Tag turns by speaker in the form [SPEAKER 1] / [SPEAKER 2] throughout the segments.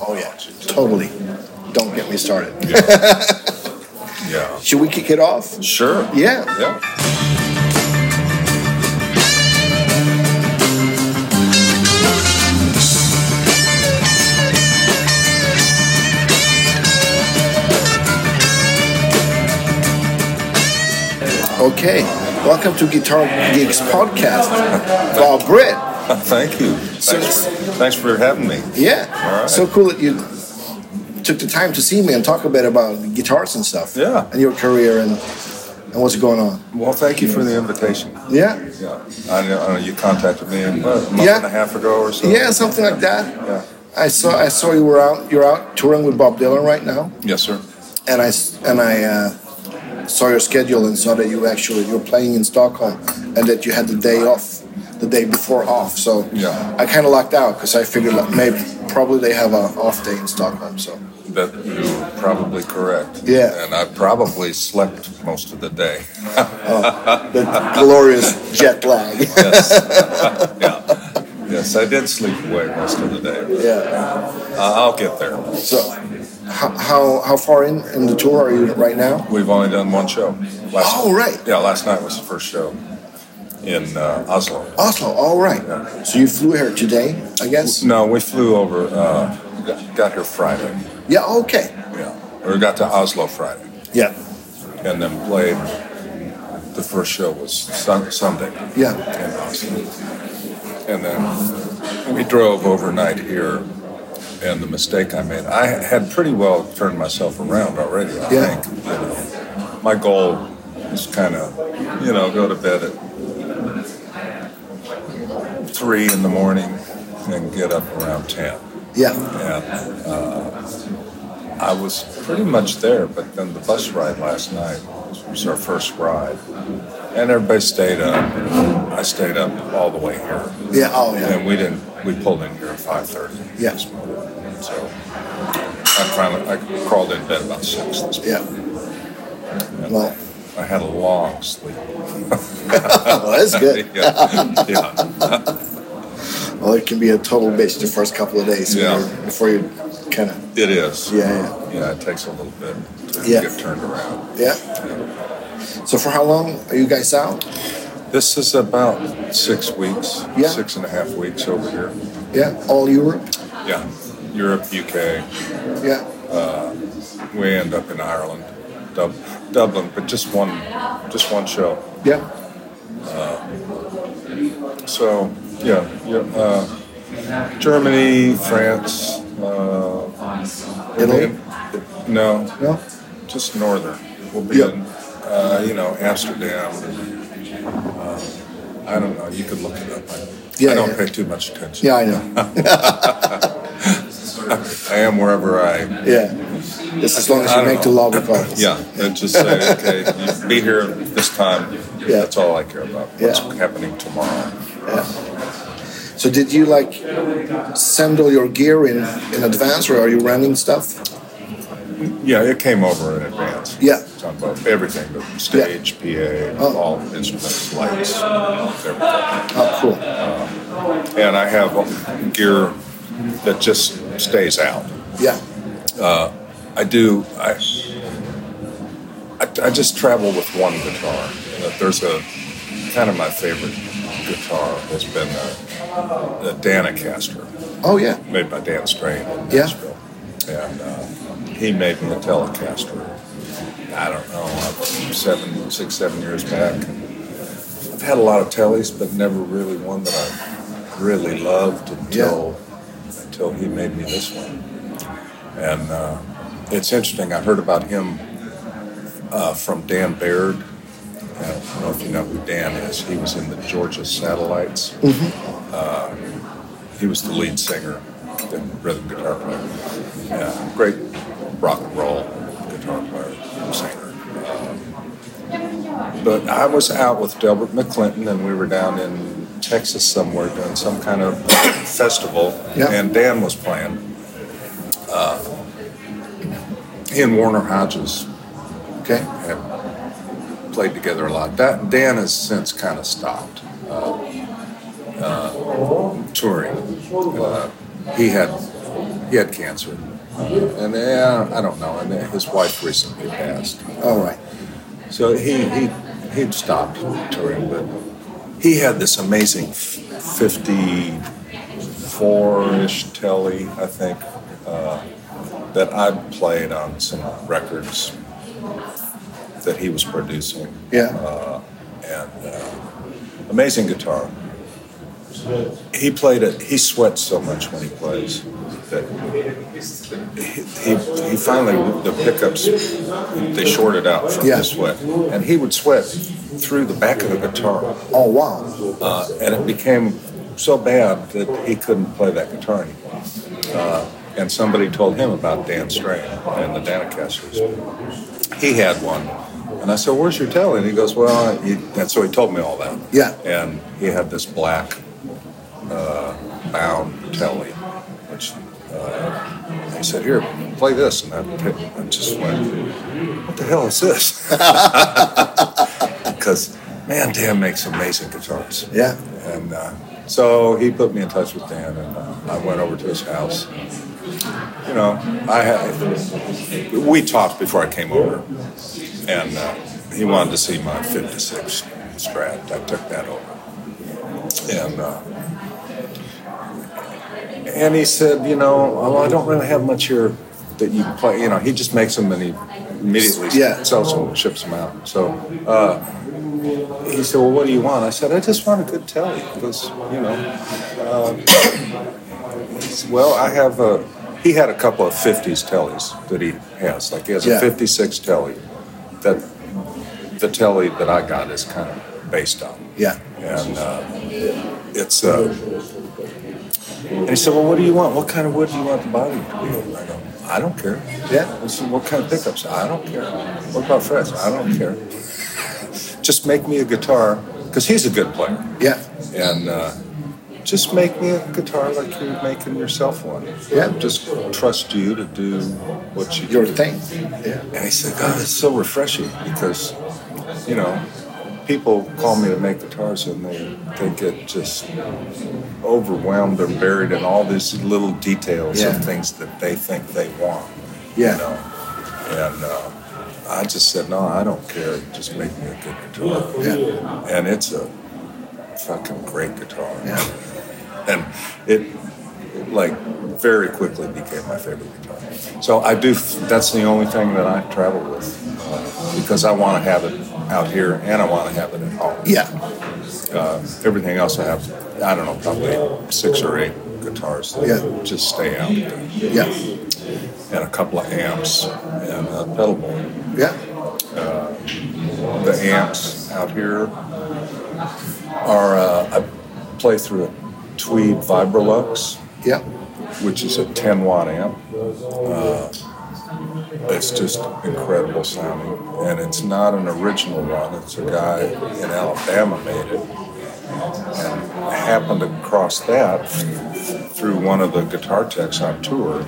[SPEAKER 1] Oh, yeah, totally. Don't get me started.
[SPEAKER 2] Yeah.
[SPEAKER 1] Should we kick it off?
[SPEAKER 2] Sure.
[SPEAKER 1] Yeah.
[SPEAKER 2] Yeah.
[SPEAKER 1] Okay. Welcome to Guitar Geeks Podcast. Bob Britt.
[SPEAKER 2] Thank you.
[SPEAKER 1] So-
[SPEAKER 2] Thanks, thanks for having me.
[SPEAKER 1] Yeah.
[SPEAKER 2] All right.
[SPEAKER 1] So cool that you took the time to see me and talk a bit about guitars and stuff.
[SPEAKER 2] Yeah.
[SPEAKER 1] And your career and and what's going on.
[SPEAKER 2] Well, thank you for the invitation.
[SPEAKER 1] Yeah.
[SPEAKER 2] Yeah. I know, I know you contacted me a month a month
[SPEAKER 1] Yeah.
[SPEAKER 2] and a half ago or so.
[SPEAKER 1] Yeah, something like that.
[SPEAKER 2] Yeah.
[SPEAKER 1] I saw I saw you were out you're out touring with Bob Dylan right now.
[SPEAKER 2] Yes, sir.
[SPEAKER 1] and I s- and I uh, saw your schedule and saw that you actually you're playing in Stockholm and that you had the day off, the day before off. So
[SPEAKER 2] Yeah.
[SPEAKER 1] I kind of lucked out because I figured like maybe probably they have an off day in Stockholm. So
[SPEAKER 2] That you're probably correct.
[SPEAKER 1] Yeah.
[SPEAKER 2] And I probably slept most of the day.
[SPEAKER 1] the glorious jet lag.
[SPEAKER 2] Yeah. yes, I did sleep away most of the day.
[SPEAKER 1] yeah.
[SPEAKER 2] I- I'll get there.
[SPEAKER 1] So how, how how far in in the tour are you right now?
[SPEAKER 2] We've only done one show. Last
[SPEAKER 1] Oh right,
[SPEAKER 2] Yeah, last night was the first show in uh, Oslo.
[SPEAKER 1] Oslo. All right.
[SPEAKER 2] Yeah.
[SPEAKER 1] So you flew here today, I guess.
[SPEAKER 2] No, we flew over, uh, got- got here Friday.
[SPEAKER 1] Yeah. Okay.
[SPEAKER 2] Yeah. Or got to Oslo Friday
[SPEAKER 1] Yeah.
[SPEAKER 2] and then played. The first show was sun- Sunday
[SPEAKER 1] Yeah.
[SPEAKER 2] in Oslo. And then we drove overnight here. And the mistake I made, I had pretty well turned myself around already, I
[SPEAKER 1] Yeah.
[SPEAKER 2] think. You know. My goal is kind of, you know, go to bed at three in the morning and get up around 10.
[SPEAKER 1] Yeah.
[SPEAKER 2] and uh, I was pretty much there. But then the bus ride last night was our first ride, and everybody stayed up. I stayed up all the way here,
[SPEAKER 1] Yeah. Oh yeah.
[SPEAKER 2] and we didn't. We pulled in here at five thirty.
[SPEAKER 1] Yeah.
[SPEAKER 2] Yes. So I finally I crawled in bed about six. This morning.
[SPEAKER 1] Yeah. Well,
[SPEAKER 2] I had a long sleep.
[SPEAKER 1] well, that's good.
[SPEAKER 2] yeah. yeah.
[SPEAKER 1] Well, it can be a total bitch the first couple of days when
[SPEAKER 2] Yeah.
[SPEAKER 1] you're- before you kind of
[SPEAKER 2] It is.
[SPEAKER 1] yeah
[SPEAKER 2] Yeah. It takes a little bit to
[SPEAKER 1] Yeah.
[SPEAKER 2] get turned around.
[SPEAKER 1] yeah yeah. So for how long are you guys out?
[SPEAKER 2] This is about six weeks,
[SPEAKER 1] Yeah.
[SPEAKER 2] six and a half weeks over here.
[SPEAKER 1] Yeah, all Europe.
[SPEAKER 2] Yeah, Europe, UK.
[SPEAKER 1] Yeah,
[SPEAKER 2] We end up in Ireland, Dub- Dublin, but just one, just one show.
[SPEAKER 1] yeah,
[SPEAKER 2] So yeah, yeah uh, Germany, France, uh,
[SPEAKER 1] Italy?
[SPEAKER 2] Italy? No,
[SPEAKER 1] no,
[SPEAKER 2] just northern. We'll be
[SPEAKER 1] Yeah.
[SPEAKER 2] in, uh, you know, Amsterdam. Uh, I don't know. You could look it up. I,
[SPEAKER 1] Yeah,
[SPEAKER 2] I don't
[SPEAKER 1] yeah.
[SPEAKER 2] pay too much attention.
[SPEAKER 1] yeah, I know.
[SPEAKER 2] I am wherever I
[SPEAKER 1] Yeah, just as long as
[SPEAKER 2] I
[SPEAKER 1] you
[SPEAKER 2] don't
[SPEAKER 1] make the lobby calls.
[SPEAKER 2] Yeah, and just say, okay, you be here this time.
[SPEAKER 1] Yeah.
[SPEAKER 2] That's all I care about. What's
[SPEAKER 1] Yeah.
[SPEAKER 2] happening tomorrow?
[SPEAKER 1] Yeah. So did you like send all your gear in in advance, or are you renting stuff?
[SPEAKER 2] Yeah, it came over in advance.
[SPEAKER 1] Yeah.
[SPEAKER 2] It's on both everything, the stage, PA,
[SPEAKER 1] Oh.
[SPEAKER 2] all instruments, lights, everything.
[SPEAKER 1] Oh, cool.
[SPEAKER 2] And I have gear that just stays out.
[SPEAKER 1] Yeah,
[SPEAKER 2] I do. I, I, I just travel with one guitar. Uh, There's a kind of my favorite guitar has been a, a Danacaster.
[SPEAKER 1] oh yeah,
[SPEAKER 2] made by Dan Strain. in
[SPEAKER 1] Yeah.
[SPEAKER 2] Nashville. And uh, he made me a Telecaster. I don't know, I was seven, six, seven years back. I've had a lot of Tellys, but never really one that I really loved until until he made me this one. And uh, it's interesting. I heard about him uh, from Dan Baird. I don't know if you know who Dan is. He was in the Georgia Satellites Uh, he was the lead singer and rhythm guitar player. Yeah, great rock and roll guitar player, singer. Um, But I was out with Delbert McClinton, and we were down in Texas somewhere doing some kind of festival,
[SPEAKER 1] Yeah.
[SPEAKER 2] and Dan was playing. Uh, he and Warner Hodges
[SPEAKER 1] okay,
[SPEAKER 2] have played together a lot. That Dan has since kind of stopped uh, uh, touring. Uh, he had He had cancer, and yeah, I don't know. And his wife recently passed.
[SPEAKER 1] All right.
[SPEAKER 2] So he he he'd stopped touring, but he had this amazing fifty-four-ish telly, I think, uh, that I played on some records that he was producing.
[SPEAKER 1] Yeah.
[SPEAKER 2] uh, and uh, amazing guitar. He played it. He sweats so much when he plays that he, he, he finally the pickups they shorted out from
[SPEAKER 1] Yeah.
[SPEAKER 2] the sweat, and he would sweat through the back of the guitar,
[SPEAKER 1] Oh wow.
[SPEAKER 2] uh, and it became so bad that he couldn't play that guitar anymore. Uh, and somebody told him about Dan Strain and the Danacasters. He had one, and I said, "Where's your telly?" And he goes, "Well," I- he, and so he told me all that
[SPEAKER 1] Yeah.
[SPEAKER 2] and he had this black uh, bound telly, which uh, he said, "Here, play this," and I, picked, I just went, "What the hell is this?" Because man, Dan makes amazing guitars,
[SPEAKER 1] Yeah.
[SPEAKER 2] and uh, so he put me in touch with Dan, and uh, I went over to his house. You know, I had we talked before I came over, and uh, he wanted to see my '56 Strat. I took that over and uh, and he said, you know, well, I don't really have much here that you can play. You know, he just makes them and he immediately
[SPEAKER 1] Yeah.
[SPEAKER 2] sells them, ships them out. So uh, he said, well, what do you want? I said, I just want a good telly because you know. Uh, he said, well, I have a. He had a couple of '50s tellies that he has. Like he has
[SPEAKER 1] Yeah.
[SPEAKER 2] a '56 telly that the telly that I got is kind of based on
[SPEAKER 1] Yeah.
[SPEAKER 2] and uh, it's uh, and he said, "Well, what do you want? What kind of wood do you want the body to be?" in?" I go, "I don't care."
[SPEAKER 1] Yeah.
[SPEAKER 2] I said, "What kind of pickups?" I don't care. What about frets? I don't care. Just make me a guitar, because he's a good player,
[SPEAKER 1] Yeah.
[SPEAKER 2] and uh, just make me a guitar like you're making yourself one.
[SPEAKER 1] Yeah.
[SPEAKER 2] Just trust you to do what you
[SPEAKER 1] Your
[SPEAKER 2] do.
[SPEAKER 1] thing. Yeah.
[SPEAKER 2] And he said, God, it's so refreshing because, you know, people call me to make guitars and they, they get just overwhelmed and buried in all these little details
[SPEAKER 1] Yeah.
[SPEAKER 2] of things that they think they want.
[SPEAKER 1] Yeah.
[SPEAKER 2] You know? And uh, I just said, no, I don't care. Just make me a good guitar.
[SPEAKER 1] Yeah.
[SPEAKER 2] And it's a fucking great guitar.
[SPEAKER 1] Yeah.
[SPEAKER 2] And it, like very quickly became my favorite guitar. So I do. That's the only thing that I travel with uh, because I want to have it out here and I want to have it at home.
[SPEAKER 1] Yeah.
[SPEAKER 2] Uh, everything else I have, I don't know, probably six or eight guitars that
[SPEAKER 1] Yeah.
[SPEAKER 2] just stay out there,
[SPEAKER 1] Yeah.
[SPEAKER 2] and a couple of amps and a pedal board.
[SPEAKER 1] Yeah.
[SPEAKER 2] The amps out here are uh, I play through a Tweed Vibrolux.
[SPEAKER 1] Yeah.
[SPEAKER 2] which is a 10 watt amp. Uh, it's just incredible sounding, and it's not an original one. It's a guy in Alabama made it, and I happened to cross that through one of the guitar techs on tour.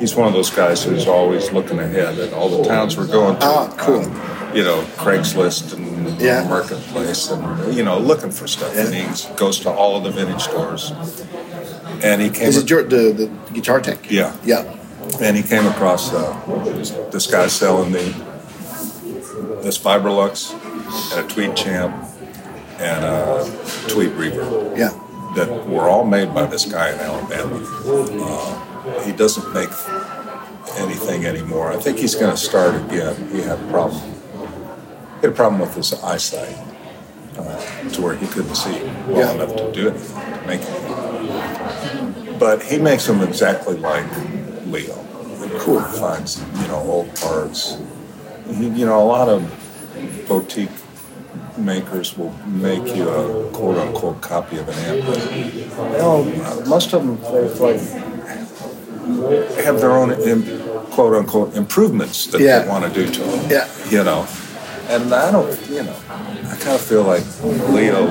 [SPEAKER 2] He's one of those guys who's always looking ahead at all the towns we're going to. Um,
[SPEAKER 1] Ah, cool.
[SPEAKER 2] You know, Craigslist and
[SPEAKER 1] Yeah.
[SPEAKER 2] Marketplace, and you know, looking for stuff. And he goes to all of the vintage stores. And he came.
[SPEAKER 1] Is it your the, the guitar tech?
[SPEAKER 2] Yeah.
[SPEAKER 1] Yeah.
[SPEAKER 2] and he came across uh, this guy selling the this Fiberlux and a Tweed Champ and a Tweed Reverb
[SPEAKER 1] Yeah.
[SPEAKER 2] that were all made by this guy in Alabama. Uh, he doesn't make anything anymore. I think he's going to start again. He had a problem. He had a problem with his eyesight uh, to where he couldn't see well
[SPEAKER 1] Yeah.
[SPEAKER 2] enough to do anything, to make anything. But he makes them exactly like Leo. Cool. Finds you know old parts. He- You know a lot of boutique makers will make you a quote unquote copy of an amp. but Well, most of them they've like have their own Im- quote unquote improvements that
[SPEAKER 1] Yeah.
[SPEAKER 2] they want to do to them.
[SPEAKER 1] Yeah.
[SPEAKER 2] You know, and I don't. You know, I kind of feel like Leo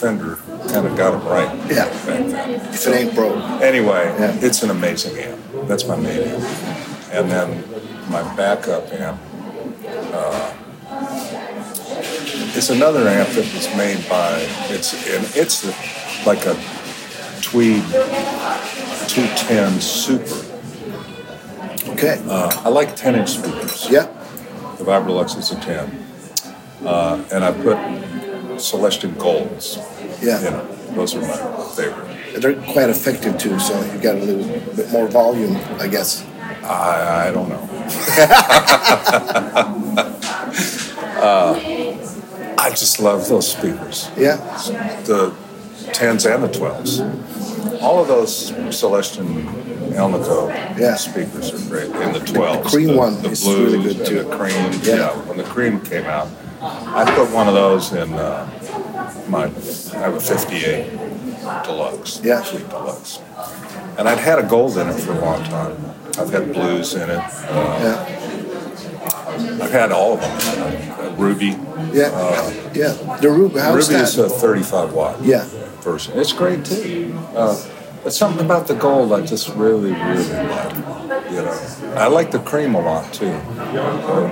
[SPEAKER 2] Fender kind of got it right.
[SPEAKER 1] Yeah.
[SPEAKER 2] Back then.
[SPEAKER 1] If it ain't broke.
[SPEAKER 2] Anyway,
[SPEAKER 1] Yeah.
[SPEAKER 2] it's an amazing amp. That's my main amp. And then my backup amp uh, is another amp that was made by it's and it's like a tweed 210 Super.
[SPEAKER 1] Okay.
[SPEAKER 2] Uh, I like 10 inch speakers.
[SPEAKER 1] yeah.
[SPEAKER 2] The Vibrolux is a 10. Uh, and I put Celestian Golds.
[SPEAKER 1] Yeah.
[SPEAKER 2] You know, those are my favorite.
[SPEAKER 1] They're quite effective too, so you got a little bit more volume, I guess.
[SPEAKER 2] I, I don't know. uh, Uh, I just love those speakers.
[SPEAKER 1] Yeah.
[SPEAKER 2] The 10s and the 12s. All of those Celestian Elnico
[SPEAKER 1] Yeah.
[SPEAKER 2] speakers are great. And the 12s.
[SPEAKER 1] cream one
[SPEAKER 2] the
[SPEAKER 1] is
[SPEAKER 2] blues
[SPEAKER 1] really good,
[SPEAKER 2] and
[SPEAKER 1] too.
[SPEAKER 2] The cream.
[SPEAKER 1] Yeah.
[SPEAKER 2] Yeah. When the cream came out, I put one of those in uh, my, I have a 58 Deluxe.
[SPEAKER 1] Yeah.
[SPEAKER 2] Sweet Deluxe. And I'd had a gold in it for a long time. I've had blues in it. Uh,
[SPEAKER 1] Yeah.
[SPEAKER 2] I've had all of them. Uh, Ruby.
[SPEAKER 1] Yeah. yeah. The Ruby, how's
[SPEAKER 2] Uh, Ruby
[SPEAKER 1] that?
[SPEAKER 2] is a 35 watt
[SPEAKER 1] Yeah.
[SPEAKER 2] version. It's great too. Uh, but something about the gold I just really, really like. You know, I like the cream a lot too.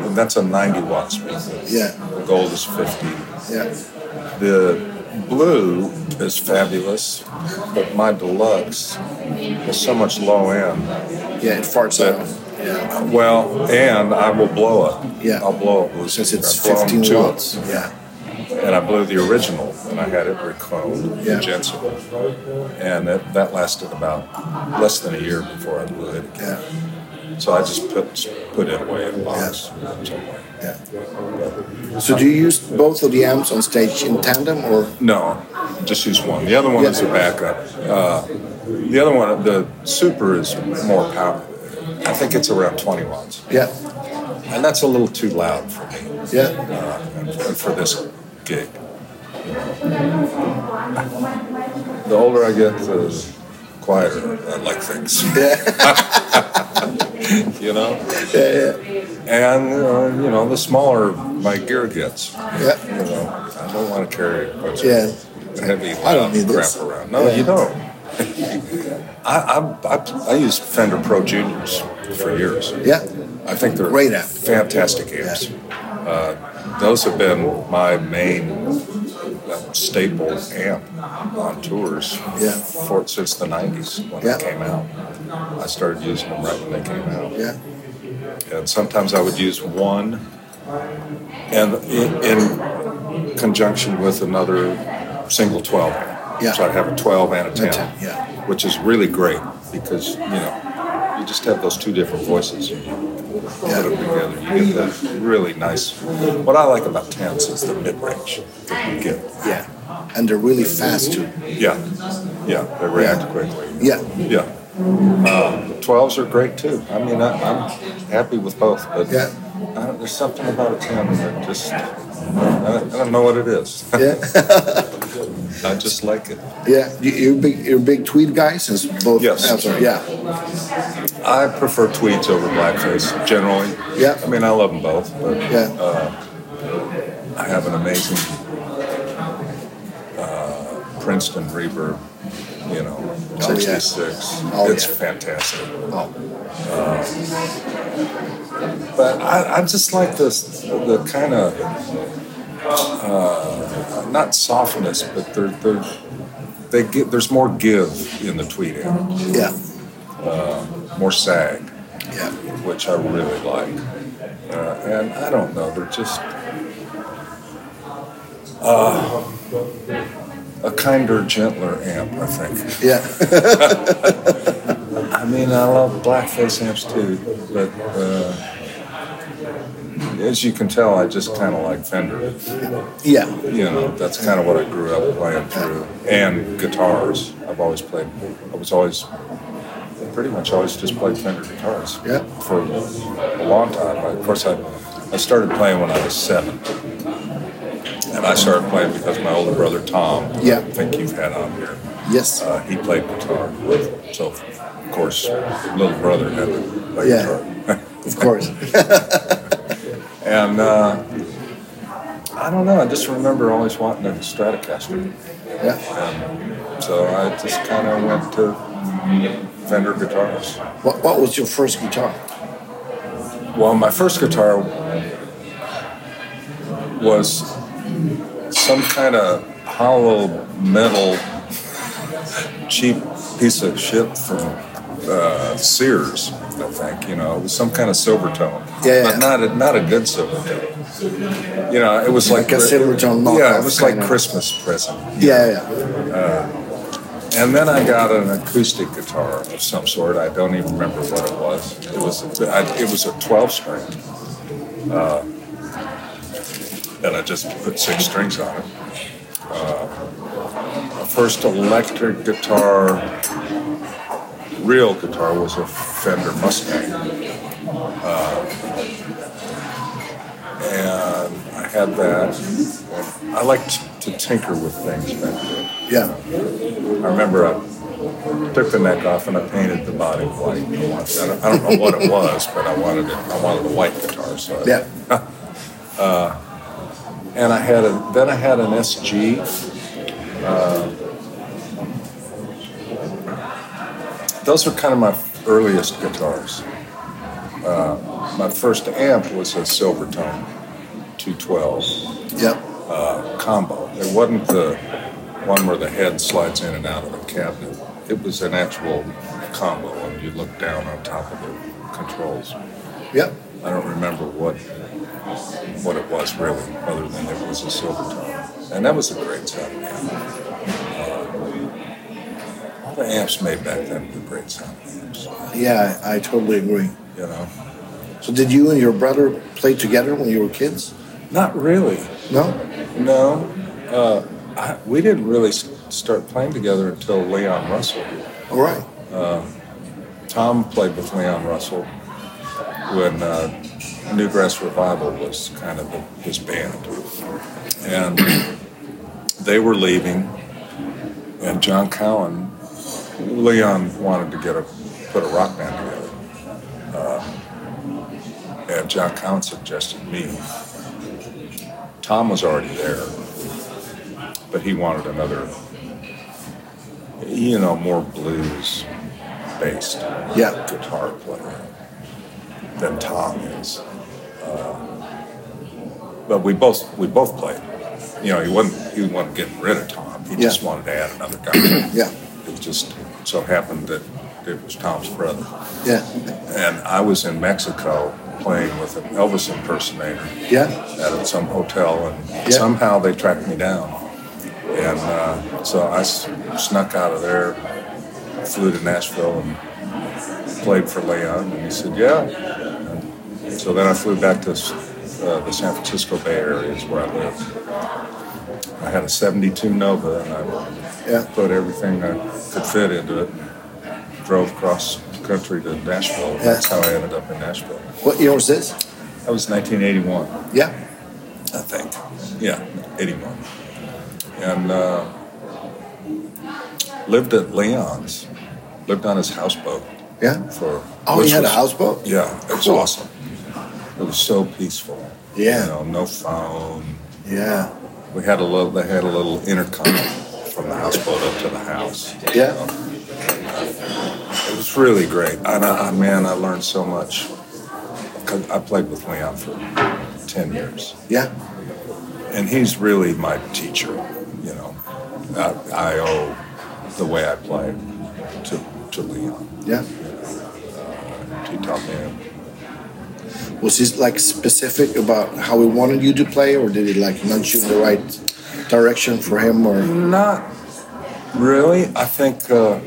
[SPEAKER 2] And that's a 90 watt speaker.
[SPEAKER 1] Yeah.
[SPEAKER 2] The gold is 50.
[SPEAKER 1] yeah.
[SPEAKER 2] The blue is fabulous, but my deluxe is so much low end.
[SPEAKER 1] Yeah, it farts
[SPEAKER 2] But-
[SPEAKER 1] out. Yeah.
[SPEAKER 2] Well, and I will blow it.
[SPEAKER 1] Yeah.
[SPEAKER 2] I'll blow it. with-
[SPEAKER 1] Since it's
[SPEAKER 2] I've blown
[SPEAKER 1] 15
[SPEAKER 2] two of
[SPEAKER 1] watts.
[SPEAKER 2] them.
[SPEAKER 1] Yeah.
[SPEAKER 2] and I blew the original, and I had it recombed,
[SPEAKER 1] Yeah.
[SPEAKER 2] yeah. Jensen, and that, that lasted about less than a year before I blew it again.
[SPEAKER 1] Yeah.
[SPEAKER 2] So I just put put it away in a box.
[SPEAKER 1] Yeah. So do you use both of the amps on stage in tandem or?
[SPEAKER 2] No, just use one. The other one is a backup. Uh, the other one, the super, is more power. I think it's around 20 watts,
[SPEAKER 1] Yeah.
[SPEAKER 2] and that's a little too loud for me
[SPEAKER 1] Yeah.
[SPEAKER 2] uh, and for- for this gig. The older I get, the quieter I like things.
[SPEAKER 1] Yeah.
[SPEAKER 2] you know?
[SPEAKER 1] Yeah.
[SPEAKER 2] And, uh, you know, the smaller my gear gets, you
[SPEAKER 1] Yeah.
[SPEAKER 2] know, I don't want to carry a bunch
[SPEAKER 1] Yeah.
[SPEAKER 2] of heavy
[SPEAKER 1] I don't need
[SPEAKER 2] crap
[SPEAKER 1] this.
[SPEAKER 2] around. No,
[SPEAKER 1] Yeah.
[SPEAKER 2] you don't. I, I, I, I used Fender Pro Juniors for years.
[SPEAKER 1] Yeah.
[SPEAKER 2] I think they're
[SPEAKER 1] Great app.
[SPEAKER 2] fantastic amps. Uh, those have been my main uh, staple amp on tours
[SPEAKER 1] Yeah.
[SPEAKER 2] for, since the 90s when
[SPEAKER 1] Yeah.
[SPEAKER 2] they came out. I started using them right when they came out.
[SPEAKER 1] Yeah.
[SPEAKER 2] And sometimes I would use one and in, in conjunction with another single 12.
[SPEAKER 1] Yeah.
[SPEAKER 2] So I'd have a 12 and a 10,
[SPEAKER 1] 10, yeah.
[SPEAKER 2] which is really great because, you know, you just have those two different voices and you
[SPEAKER 1] Yeah.
[SPEAKER 2] put them together. You get that really nice. What I like about 10s is the mid range that you get.
[SPEAKER 1] Yeah. And they're really fast too.
[SPEAKER 2] Yeah. Yeah. They react quickly.
[SPEAKER 1] Yeah.
[SPEAKER 2] Yeah. Uh, 12s are great too. I mean, I, I'm happy with both, but
[SPEAKER 1] Yeah.
[SPEAKER 2] I don't, there's something about a 10 that just, I don't, I don't know what it is.
[SPEAKER 1] Yeah.
[SPEAKER 2] I just like it.
[SPEAKER 1] Yeah. You, you're big. You're a big tweed guy since both
[SPEAKER 2] Yes.
[SPEAKER 1] amps are. Yeah.
[SPEAKER 2] I prefer tweeds over blackface generally.
[SPEAKER 1] Yeah.
[SPEAKER 2] I mean, I love them both, but
[SPEAKER 1] Yeah.
[SPEAKER 2] I have an amazing uh, Princeton reverb, you know,
[SPEAKER 1] Oh, yeah.
[SPEAKER 2] 66.
[SPEAKER 1] Oh,
[SPEAKER 2] it's
[SPEAKER 1] yeah.
[SPEAKER 2] fantastic.
[SPEAKER 1] oh.
[SPEAKER 2] But I, I just like this the kind of uh, not softness, but they're, they're, they get there's more give in the tweet amp,
[SPEAKER 1] Yeah.
[SPEAKER 2] more sag,
[SPEAKER 1] Yeah.
[SPEAKER 2] which I really like. Uh, and I don't know, they're just uh, a kinder, gentler amp, I think.
[SPEAKER 1] Yeah.
[SPEAKER 2] I mean, I love blackface amps too, but uh, as you can tell, I just kind of like Fender.
[SPEAKER 1] Yeah.
[SPEAKER 2] you know, that's kind of what I grew up playing through. And guitars, I've always played. I was always, pretty much always just played Fender guitars.
[SPEAKER 1] Yeah.
[SPEAKER 2] For a long time. Of course, I, I started playing when I was seven. And I started playing because my older brother Tom, who
[SPEAKER 1] Yeah.
[SPEAKER 2] I think you've had on here,
[SPEAKER 1] Yes.
[SPEAKER 2] uh, he played guitar. So, of course, little brother had to play
[SPEAKER 1] Yeah.
[SPEAKER 2] guitar.
[SPEAKER 1] Of course.
[SPEAKER 2] And uh, I don't know, I just remember always wanting a Stratocaster.
[SPEAKER 1] Yeah.
[SPEAKER 2] So I just kind of went to Fender guitars.
[SPEAKER 1] What, what was your first guitar?
[SPEAKER 2] Well, my first guitar was some kind of hollow metal cheap piece of shit from uh, Sears, I think. You know, it was some kind of silver tone,
[SPEAKER 1] Yeah,
[SPEAKER 2] but
[SPEAKER 1] yeah.
[SPEAKER 2] not a, not a good silver tone. You know, it was like,
[SPEAKER 1] Like a silver tone
[SPEAKER 2] Yeah,
[SPEAKER 1] knockoff
[SPEAKER 2] it was like
[SPEAKER 1] kinda.
[SPEAKER 2] Christmas present.
[SPEAKER 1] Yeah, yeah.
[SPEAKER 2] And then I got an acoustic guitar of some sort. I don't even remember what it was. It was a, I, it was a twelve string, uh, and I just put six strings on it. Uh, my first electric guitar, real guitar, was a Fender Mustang, uh, and I had that. I liked to tinker with things back then.
[SPEAKER 1] yeah.
[SPEAKER 2] I remember I took the neck off and I painted the body white. I want- I don't, I don't know what it was, but I wanted it. I wanted a white guitar. So I-
[SPEAKER 1] Yeah.
[SPEAKER 2] and I had a then I had an uh, SG. Uh, those were kind of my earliest guitars. Uh, my first amp was a Silvertone 212.
[SPEAKER 1] Yeah.
[SPEAKER 2] combo. It wasn't the one where the head slides in and out of the cabinet. It was an actual combo, and you look down on top of the controls.
[SPEAKER 1] Yeah.
[SPEAKER 2] I don't remember what what it was really, other than it was a silver tone, and that was a great sound. amp. Uh, all the amps made back then were great sound amps.
[SPEAKER 1] Yeah, I totally agree.
[SPEAKER 2] You know,
[SPEAKER 1] So did you and your brother play together when you were kids?
[SPEAKER 2] not really.
[SPEAKER 1] No?
[SPEAKER 2] No, uh, I, we didn't really s- start playing together until Leon Russell.
[SPEAKER 1] All right.
[SPEAKER 2] Tom played with Leon Russell when uh, Newgrass Revival was kind of his band. And they were leaving, and John Cowan, Leon wanted to get a put a rock band together. Uh, and John Cowan suggested me. Tom was already there, but he wanted another, you know, more blues based
[SPEAKER 1] Yeah.
[SPEAKER 2] guitar player than Tom is. Uh, But we both we both played. You know, he wasn't he wasn't getting rid of Tom. He just
[SPEAKER 1] Yeah.
[SPEAKER 2] wanted to add another guy.
[SPEAKER 1] Yeah.
[SPEAKER 2] It just so happened that it was Tom's brother.
[SPEAKER 1] Yeah.
[SPEAKER 2] And I was in Mexico playing with an Elvis impersonator
[SPEAKER 1] Yeah.
[SPEAKER 2] at some hotel, and
[SPEAKER 1] Yeah.
[SPEAKER 2] somehow they tracked me down. And uh, so I s- snuck out of there, flew to Nashville, and played for Leon. And he said, "Yeah." And so then I flew back to s- uh, the San Francisco Bay Area, is where I live. I had a '72 Nova, and I
[SPEAKER 1] Yeah.
[SPEAKER 2] put everything I could fit into it. And drove across country to Nashville.
[SPEAKER 1] Yeah.
[SPEAKER 2] That's how I ended up in Nashville.
[SPEAKER 1] What year was this?
[SPEAKER 2] That was 1981.
[SPEAKER 1] Yeah.
[SPEAKER 2] I think. Yeah, 81. And uh, lived at Leon's, lived on his houseboat
[SPEAKER 1] Yeah.
[SPEAKER 2] for.
[SPEAKER 1] Oh,
[SPEAKER 2] which
[SPEAKER 1] he had a
[SPEAKER 2] was-
[SPEAKER 1] houseboat?
[SPEAKER 2] Yeah, it was
[SPEAKER 1] Cool.
[SPEAKER 2] awesome. It was so peaceful.
[SPEAKER 1] Yeah.
[SPEAKER 2] You know, no phone.
[SPEAKER 1] Yeah.
[SPEAKER 2] We had a little, they had a little intercom from the houseboat up to the house. you
[SPEAKER 1] Yeah.
[SPEAKER 2] know. It was really great. And I, I, man, I learned so much. 'Cause I played with Leon for 10 years
[SPEAKER 1] Yeah.
[SPEAKER 2] and he's really my teacher. You know, I, I owe the way I play to to Leon.
[SPEAKER 1] Yeah.
[SPEAKER 2] He taught me.
[SPEAKER 1] Was he like specific about how he wanted you to play, or did he like nudge you in the right direction for him? Or
[SPEAKER 2] Not really. I think. Uh,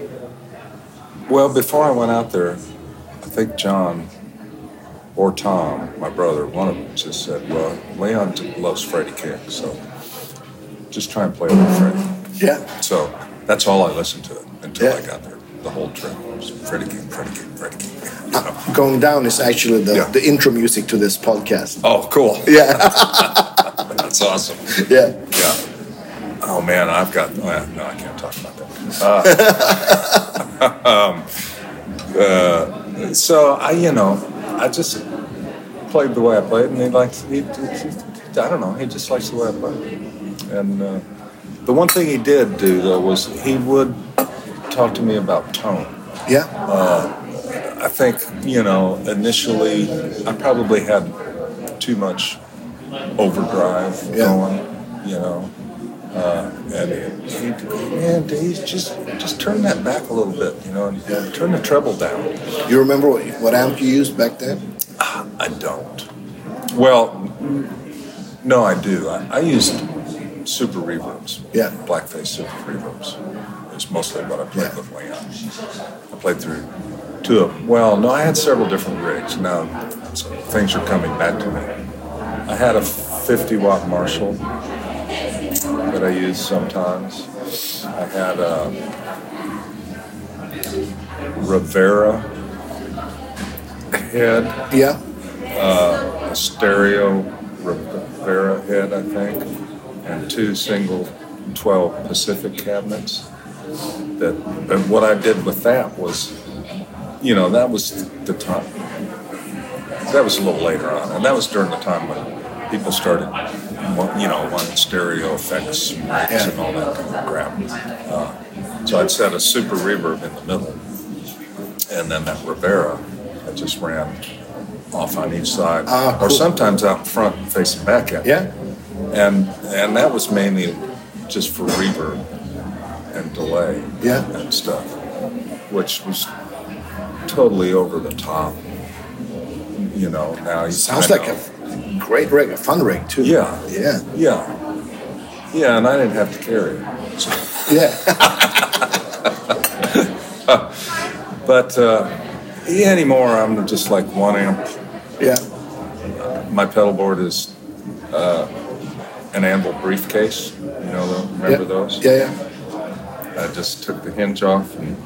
[SPEAKER 2] well, before I went out there, I think John or Tom, my brother, one of them, just said, "Well, Leon t- loves Freddie King, so just try and play with Freddie."
[SPEAKER 1] yeah,
[SPEAKER 2] So that's all I listened to until I
[SPEAKER 1] Yeah.
[SPEAKER 2] got there. The whole trip It was Freddie King, Freddie King, Freddie King. You know?
[SPEAKER 1] going down is actually the,
[SPEAKER 2] Yeah.
[SPEAKER 1] the intro music to this podcast.
[SPEAKER 2] Oh, cool.
[SPEAKER 1] Yeah,
[SPEAKER 2] That's awesome.
[SPEAKER 1] yeah,
[SPEAKER 2] Yeah. Oh man, I've got uh, no. I can't talk about that. Ah. Uh, um, uh, so I, you know, I just played the way I played, and he likes. He, he, he- I don't know. He just likes the way I play. And uh, the one thing he did do though was he would talk to me about tone.
[SPEAKER 1] yeah,
[SPEAKER 2] I think, you know, initially I probably had too much overdrive
[SPEAKER 1] Yeah.
[SPEAKER 2] going, you know. Uh, and he, man, he's just just turn that back a little bit, you know, and and turn the treble down.
[SPEAKER 1] You remember what, what amp you used back then?
[SPEAKER 2] I don't. Well, no, I do. I, I used super reverbs.
[SPEAKER 1] Yeah.
[SPEAKER 2] Blackface super reverbs. It's mostly what I played
[SPEAKER 1] Yeah.
[SPEAKER 2] with Leon. I played through two of them. Well, no, I had several different rigs. Now so things are coming back to me. I had a 50 watt Marshall that I used sometimes. I had a Rivera head
[SPEAKER 1] Yeah.
[SPEAKER 2] a stereo Rivera head, I think, and two single 12 Pacific cabinets. That, and what I did with that was, you know, that was the time. That was a little later on, and that was during the time when people started, wa- you know, wanting stereo effects and racks and all that kind of crap. Uh, so I'd set a super reverb in the middle, and then that Rivera, I just ran off on each side,
[SPEAKER 1] Ah,
[SPEAKER 2] or
[SPEAKER 1] cool.
[SPEAKER 2] sometimes out in front and facing back at. you.
[SPEAKER 1] Yeah.
[SPEAKER 2] And and that was mainly just for reverb and delay.
[SPEAKER 1] Yeah.
[SPEAKER 2] And stuff, which was totally over the top. You know, now you
[SPEAKER 1] Sounds
[SPEAKER 2] I
[SPEAKER 1] like
[SPEAKER 2] know.
[SPEAKER 1] a great rig, a fun rig too.
[SPEAKER 2] Yeah.
[SPEAKER 1] Yeah.
[SPEAKER 2] yeah, yeah, and I didn't have to carry it. So-
[SPEAKER 1] Yeah.
[SPEAKER 2] but uh, yeah, anymore I'm just like one amp
[SPEAKER 1] yeah.
[SPEAKER 2] My pedal board is uh, an anvil briefcase. You know, tho- remember
[SPEAKER 1] yeah.
[SPEAKER 2] those?
[SPEAKER 1] Yeah, yeah.
[SPEAKER 2] I just took the hinge off, and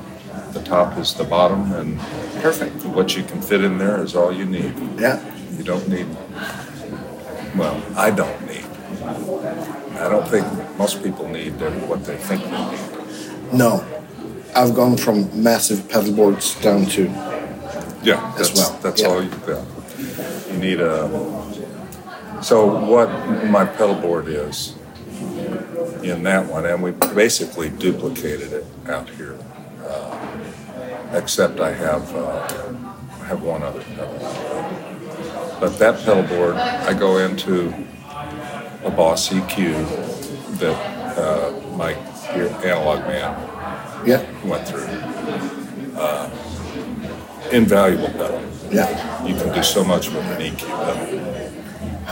[SPEAKER 2] the top is the bottom, and perfect. What you can fit in there is all you need.
[SPEAKER 1] Yeah.
[SPEAKER 2] You don't need. Well, I don't need. I don't think most people need what they think they need.
[SPEAKER 1] No. I've gone from massive pedal boards down to
[SPEAKER 2] Yeah,
[SPEAKER 1] as
[SPEAKER 2] that's
[SPEAKER 1] well.
[SPEAKER 2] That's
[SPEAKER 1] Yeah.
[SPEAKER 2] all you got. You need a. So what my pedal board is in that one, and we basically duplicated it out here, uh, except I have uh, I have one other pedal. But that pedal board, I go into a Boss EQ that uh, my analog man
[SPEAKER 1] yeah,
[SPEAKER 2] went through. Uh, invaluable pedal.
[SPEAKER 1] yeah.
[SPEAKER 2] You can do so much with an EQ pedal.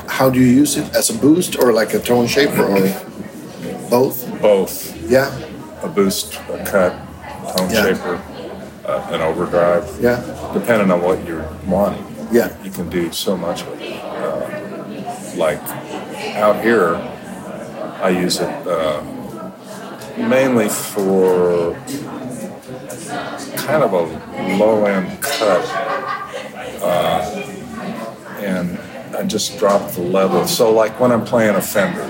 [SPEAKER 1] How do you use it as a boost or like a tone shaper or both?
[SPEAKER 2] Both
[SPEAKER 1] Yeah,
[SPEAKER 2] a boost, a cut, tone
[SPEAKER 1] Yeah.
[SPEAKER 2] shaper, uh, an overdrive.
[SPEAKER 1] Yeah.
[SPEAKER 2] Depending on what you're wanting.
[SPEAKER 1] Yeah.
[SPEAKER 2] You can do so much with it. Uh, like out here, I use it uh, mainly for kind of a low end cut. Uh, and I just drop the level. So, like when I'm playing a Fender,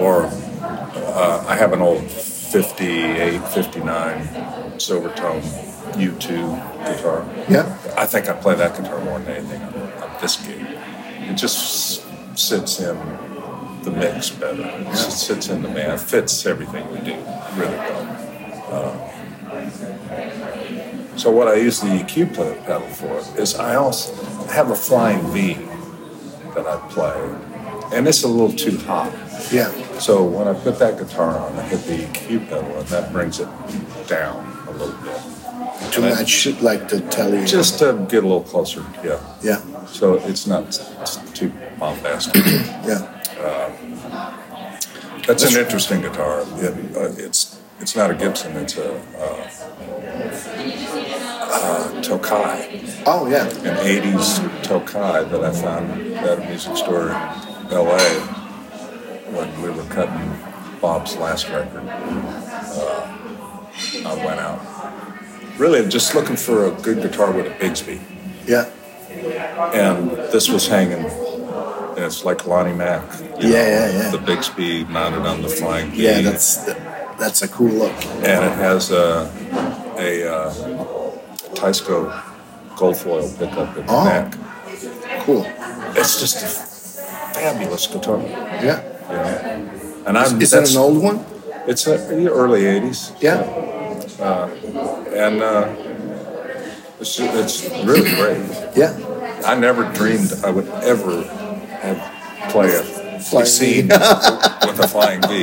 [SPEAKER 2] or uh, I have an old 58, 59 Silvertone U2 guitar.
[SPEAKER 1] yeah,
[SPEAKER 2] I think I play that guitar more than anything on, on this gig. It just s- sits in the mix better. It just sits in the man. It fits everything we do really well. Uh, so what I use the EQ pla- pedal for is I also have a flying V that I play, and it's a little too hot.
[SPEAKER 1] yeah,
[SPEAKER 2] So when I put that guitar on, I hit the EQ pedal, and that brings it down a little bit,
[SPEAKER 1] to match like the telly.
[SPEAKER 2] just to get a little closer. Yeah.
[SPEAKER 1] yeah,
[SPEAKER 2] So it's not it's too bombastic.
[SPEAKER 1] yeah,
[SPEAKER 2] That's an interesting guitar. It, uh, it's it's not a Gibson. It's a uh, uh, Tokai,
[SPEAKER 1] oh yeah,
[SPEAKER 2] an '80s Tokai that I found at a music store in L.A. when we were cutting Bob's last record. Uh, I went out really just looking for a good guitar with a Bigsby.
[SPEAKER 1] yeah,
[SPEAKER 2] and this was hanging. And it's like Lonnie Mack. you
[SPEAKER 1] Yeah, yeah, yeah.
[SPEAKER 2] The Bixby mounted on the flying V.
[SPEAKER 1] yeah. That's that's a cool look.
[SPEAKER 2] and it has a a uh, Tysco gold foil pickup in the
[SPEAKER 1] Oh.
[SPEAKER 2] neck.
[SPEAKER 1] Cool.
[SPEAKER 2] It's just a fabulous guitar. you know.
[SPEAKER 1] Yeah.
[SPEAKER 2] And I'm
[SPEAKER 1] Is that
[SPEAKER 2] Mm-hmm. that's,
[SPEAKER 1] an old one?
[SPEAKER 2] It's a, in the early '80s.
[SPEAKER 1] Yeah.
[SPEAKER 2] And uh, it's it's really great.
[SPEAKER 1] Yeah.
[SPEAKER 2] I never dreamed I would ever have play a
[SPEAKER 1] Flying V.
[SPEAKER 2] seen with a flying V.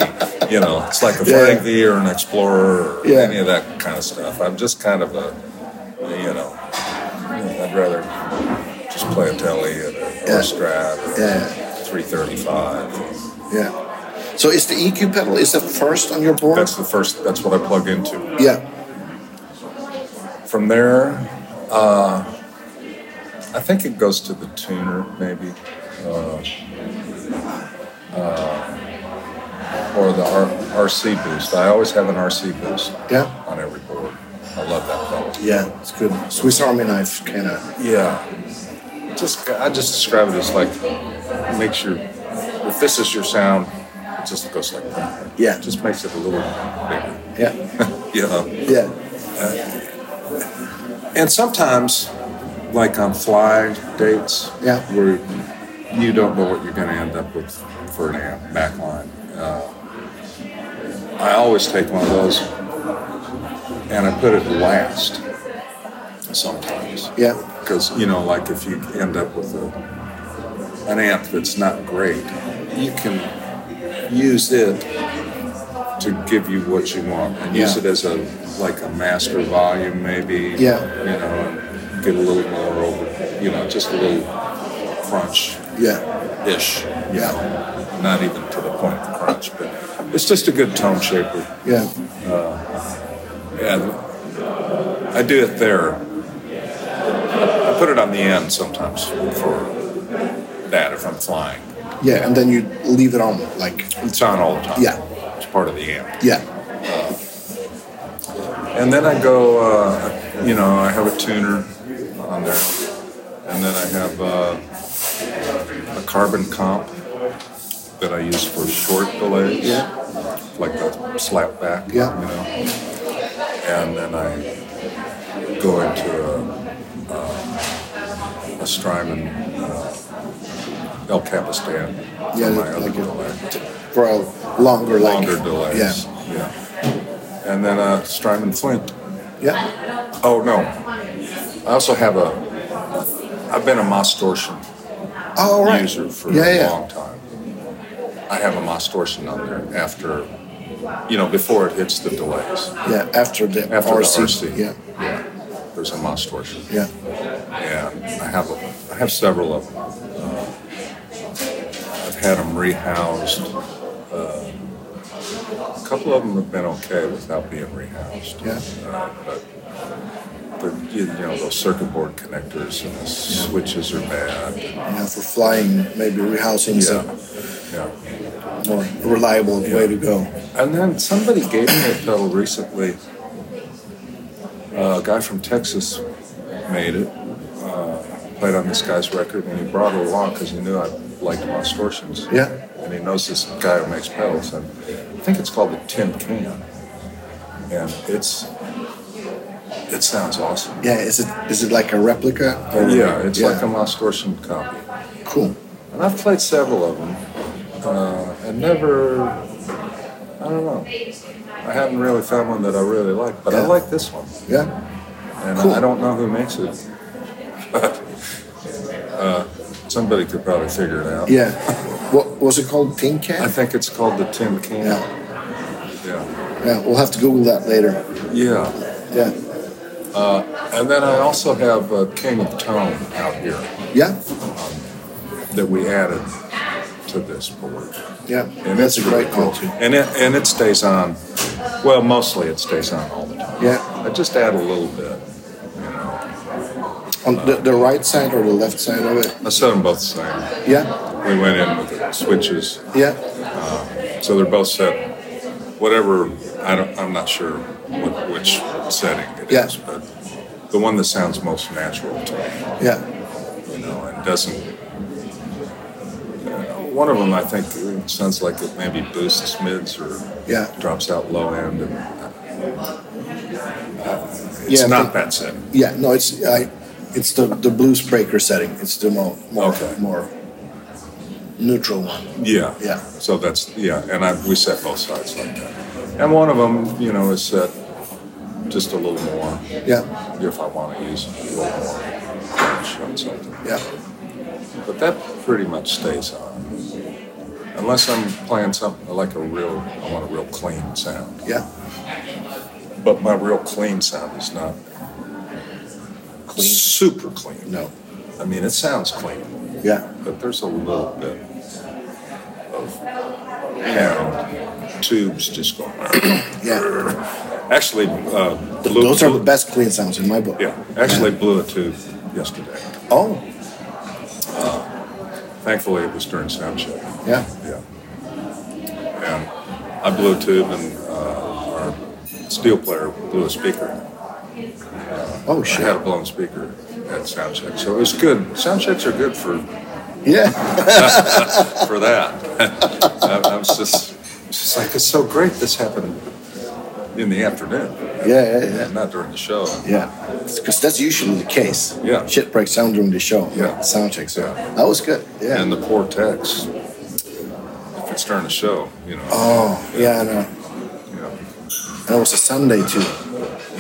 [SPEAKER 2] You know, it's like a flying
[SPEAKER 1] Yeah.
[SPEAKER 2] V or an Explorer or
[SPEAKER 1] Yeah.
[SPEAKER 2] any of that kind of stuff. I'm just kind of a, you know, I'd rather just play a telly and a,
[SPEAKER 1] Yeah.
[SPEAKER 2] or a Strat or
[SPEAKER 1] Yeah.
[SPEAKER 2] a 335.
[SPEAKER 1] Yeah. So is the EQ pedal is that first on your board?
[SPEAKER 2] That's the first. That's what I plug into.
[SPEAKER 1] yeah.
[SPEAKER 2] From there, uh, I think it goes to the tuner, maybe, uh, uh, or the R- RC boost. I always have an RC boost
[SPEAKER 1] Yeah.
[SPEAKER 2] on every board. I love that pedal.
[SPEAKER 1] Yeah, it's good. Swiss Army knife kind of.
[SPEAKER 2] Yeah, just I just describe it as like makes your if this is your sound, it just goes like that.
[SPEAKER 1] Yeah.
[SPEAKER 2] It just makes it a little bigger.
[SPEAKER 1] Yeah.
[SPEAKER 2] you know.
[SPEAKER 1] Yeah.
[SPEAKER 2] And sometimes, like on fly dates,
[SPEAKER 1] Yeah.
[SPEAKER 2] where you don't know what you're going to end up with for an amp back line. Uh, I always take one of those and I put it last sometimes.
[SPEAKER 1] Yeah.
[SPEAKER 2] Because, you know, like if you end up with a, an amp that's not great, you can use it to give you what you want and use
[SPEAKER 1] Yeah.
[SPEAKER 2] it as a like a master volume maybe
[SPEAKER 1] Yeah.
[SPEAKER 2] you know and get a little more over you know just a little crunch
[SPEAKER 1] Yeah.
[SPEAKER 2] ish
[SPEAKER 1] Yeah.
[SPEAKER 2] not even to the point of crunch but it's just a good tone shaper
[SPEAKER 1] Yeah.
[SPEAKER 2] and I do it there. I put it on the end sometimes for that if I'm flying.
[SPEAKER 1] Yeah. And then you leave it on like
[SPEAKER 2] It's on all the time.
[SPEAKER 1] Yeah.
[SPEAKER 2] It's part of the amp.
[SPEAKER 1] yeah.
[SPEAKER 2] And then I go, uh, you know, I have a tuner on there. And then I have uh, a carbon comp that I use for short delays.
[SPEAKER 1] Yeah.
[SPEAKER 2] Like a slap back.
[SPEAKER 1] Yeah.
[SPEAKER 2] You know? And then I go into a, a, a Strymon uh, El Capistan.
[SPEAKER 1] Yeah,
[SPEAKER 2] for my
[SPEAKER 1] like
[SPEAKER 2] other
[SPEAKER 1] a-
[SPEAKER 2] delay
[SPEAKER 1] For a longer like
[SPEAKER 2] longer delays.
[SPEAKER 1] Yeah.
[SPEAKER 2] Yeah. And then uh, Strymon Flint.
[SPEAKER 1] Yeah.
[SPEAKER 2] Oh no, I also have a. I've been a Mostortion
[SPEAKER 1] Oh, all right.
[SPEAKER 2] user for
[SPEAKER 1] yeah,
[SPEAKER 2] a
[SPEAKER 1] yeah.
[SPEAKER 2] long time. I have a Mostortion on there after, you know, before it hits the delays.
[SPEAKER 1] Yeah. After the
[SPEAKER 2] After
[SPEAKER 1] RC.
[SPEAKER 2] the RC.
[SPEAKER 1] Yeah.
[SPEAKER 2] yeah. There's a Mostortion.
[SPEAKER 1] Yeah.
[SPEAKER 2] And I have, a, I have several of them. Uh, I've had them rehoused. Uh, a couple of them have been okay without being rehoused.
[SPEAKER 1] Yeah.
[SPEAKER 2] Uh, but but you, you know those circuit board connectors and the switches are bad.
[SPEAKER 1] Yeah. For flying, maybe rehousing is
[SPEAKER 2] Yeah. Yeah.
[SPEAKER 1] a more reliable way to go.
[SPEAKER 2] And then somebody gave me a pedal recently. Uh, a guy from Texas made it. Uh, played on this guy's record, and he brought it along because he knew I liked my distortions.
[SPEAKER 1] Yeah.
[SPEAKER 2] And he knows this guy who makes pedals, and I think it's called the Tin Can. And it's it sounds awesome.
[SPEAKER 1] Yeah. Is it is it like a replica? Or,
[SPEAKER 2] Yeah, it's like a Mostortion copy.
[SPEAKER 1] cool.
[SPEAKER 2] And I've played several of them. Uh, and never, I don't know. I haven't really found one that I really like, but I
[SPEAKER 1] Yeah.
[SPEAKER 2] like this one.
[SPEAKER 1] Yeah.
[SPEAKER 2] And
[SPEAKER 1] Cool.
[SPEAKER 2] I don't know who makes it. uh, somebody could probably figure it out.
[SPEAKER 1] Yeah. What was it called? Tin can?
[SPEAKER 2] I think it's called the Tin Can.
[SPEAKER 1] yeah.
[SPEAKER 2] Yeah.
[SPEAKER 1] Yeah. We'll have to Google that later.
[SPEAKER 2] Yeah.
[SPEAKER 1] Yeah.
[SPEAKER 2] And then I also have uh, King of Tone out here
[SPEAKER 1] Yeah.
[SPEAKER 2] that we added to this board.
[SPEAKER 1] Yeah.
[SPEAKER 2] And
[SPEAKER 1] That's a
[SPEAKER 2] it's really
[SPEAKER 1] great
[SPEAKER 2] cool.
[SPEAKER 1] one too.
[SPEAKER 2] And it, and it stays on. Well, mostly it stays on all the time.
[SPEAKER 1] Yeah.
[SPEAKER 2] I just add a little bit, you know.
[SPEAKER 1] On the, the right side or the left side of it?
[SPEAKER 2] I set them both the same.
[SPEAKER 1] Yeah.
[SPEAKER 2] We went in with the switches,
[SPEAKER 1] Yeah.
[SPEAKER 2] so they're both set. Whatever, I don't, I'm not sure what, which setting it is,
[SPEAKER 1] Yeah.
[SPEAKER 2] but the one that sounds most natural to me,
[SPEAKER 1] Yeah.
[SPEAKER 2] you know, and doesn't. uh, One of them, I think, it sounds like it maybe boosts mids or
[SPEAKER 1] Yeah.
[SPEAKER 2] drops out low end, and uh, it's
[SPEAKER 1] Yeah,
[SPEAKER 2] not
[SPEAKER 1] but-
[SPEAKER 2] that setting.
[SPEAKER 1] Yeah. No, it's I. It's the the blues breaker setting. It's the more more
[SPEAKER 2] Okay.
[SPEAKER 1] more neutral one.
[SPEAKER 2] Yeah.
[SPEAKER 1] Yeah.
[SPEAKER 2] So that's yeah, and I, we set both sides like that, and one of them, you know, is set just a little more
[SPEAKER 1] Yeah.
[SPEAKER 2] if I want to use a little more crunch on something.
[SPEAKER 1] Yeah.
[SPEAKER 2] But that pretty much stays on. Unless I'm playing something I like a real, I want a real clean sound.
[SPEAKER 1] Yeah.
[SPEAKER 2] But my real clean sound is not
[SPEAKER 1] Clean.
[SPEAKER 2] super clean.
[SPEAKER 1] No.
[SPEAKER 2] I mean, it sounds clean,
[SPEAKER 1] Yeah.
[SPEAKER 2] but there's a little bit of pound tubes just going.
[SPEAKER 1] Yeah.
[SPEAKER 2] Actually, uh, blew,
[SPEAKER 1] Those are the best clean sounds in my book.
[SPEAKER 2] Yeah, actually blew a tube yesterday.
[SPEAKER 1] Oh.
[SPEAKER 2] Thankfully, it was during sound check.
[SPEAKER 1] Yeah.
[SPEAKER 2] Yeah. And I blew a tube, and uh, our steel player blew a speaker.
[SPEAKER 1] Oh
[SPEAKER 2] I had
[SPEAKER 1] shit.
[SPEAKER 2] a blown speaker at sound check, so it was good. Sound checks are good for
[SPEAKER 1] Yeah.
[SPEAKER 2] for that. I, I was just just like, it's so great this happened in the afternoon,
[SPEAKER 1] Yeah. Yeah. yeah.
[SPEAKER 2] and not during the show.
[SPEAKER 1] Yeah, because that's usually the case.
[SPEAKER 2] Yeah.
[SPEAKER 1] shit breaks down during the show.
[SPEAKER 2] Yeah.
[SPEAKER 1] sound check. So
[SPEAKER 2] Yeah.
[SPEAKER 1] that was good. Yeah.
[SPEAKER 2] And the poor techs, if it's during the show, you know.
[SPEAKER 1] oh yeah, I know.
[SPEAKER 2] You know.
[SPEAKER 1] and it was a Sunday too.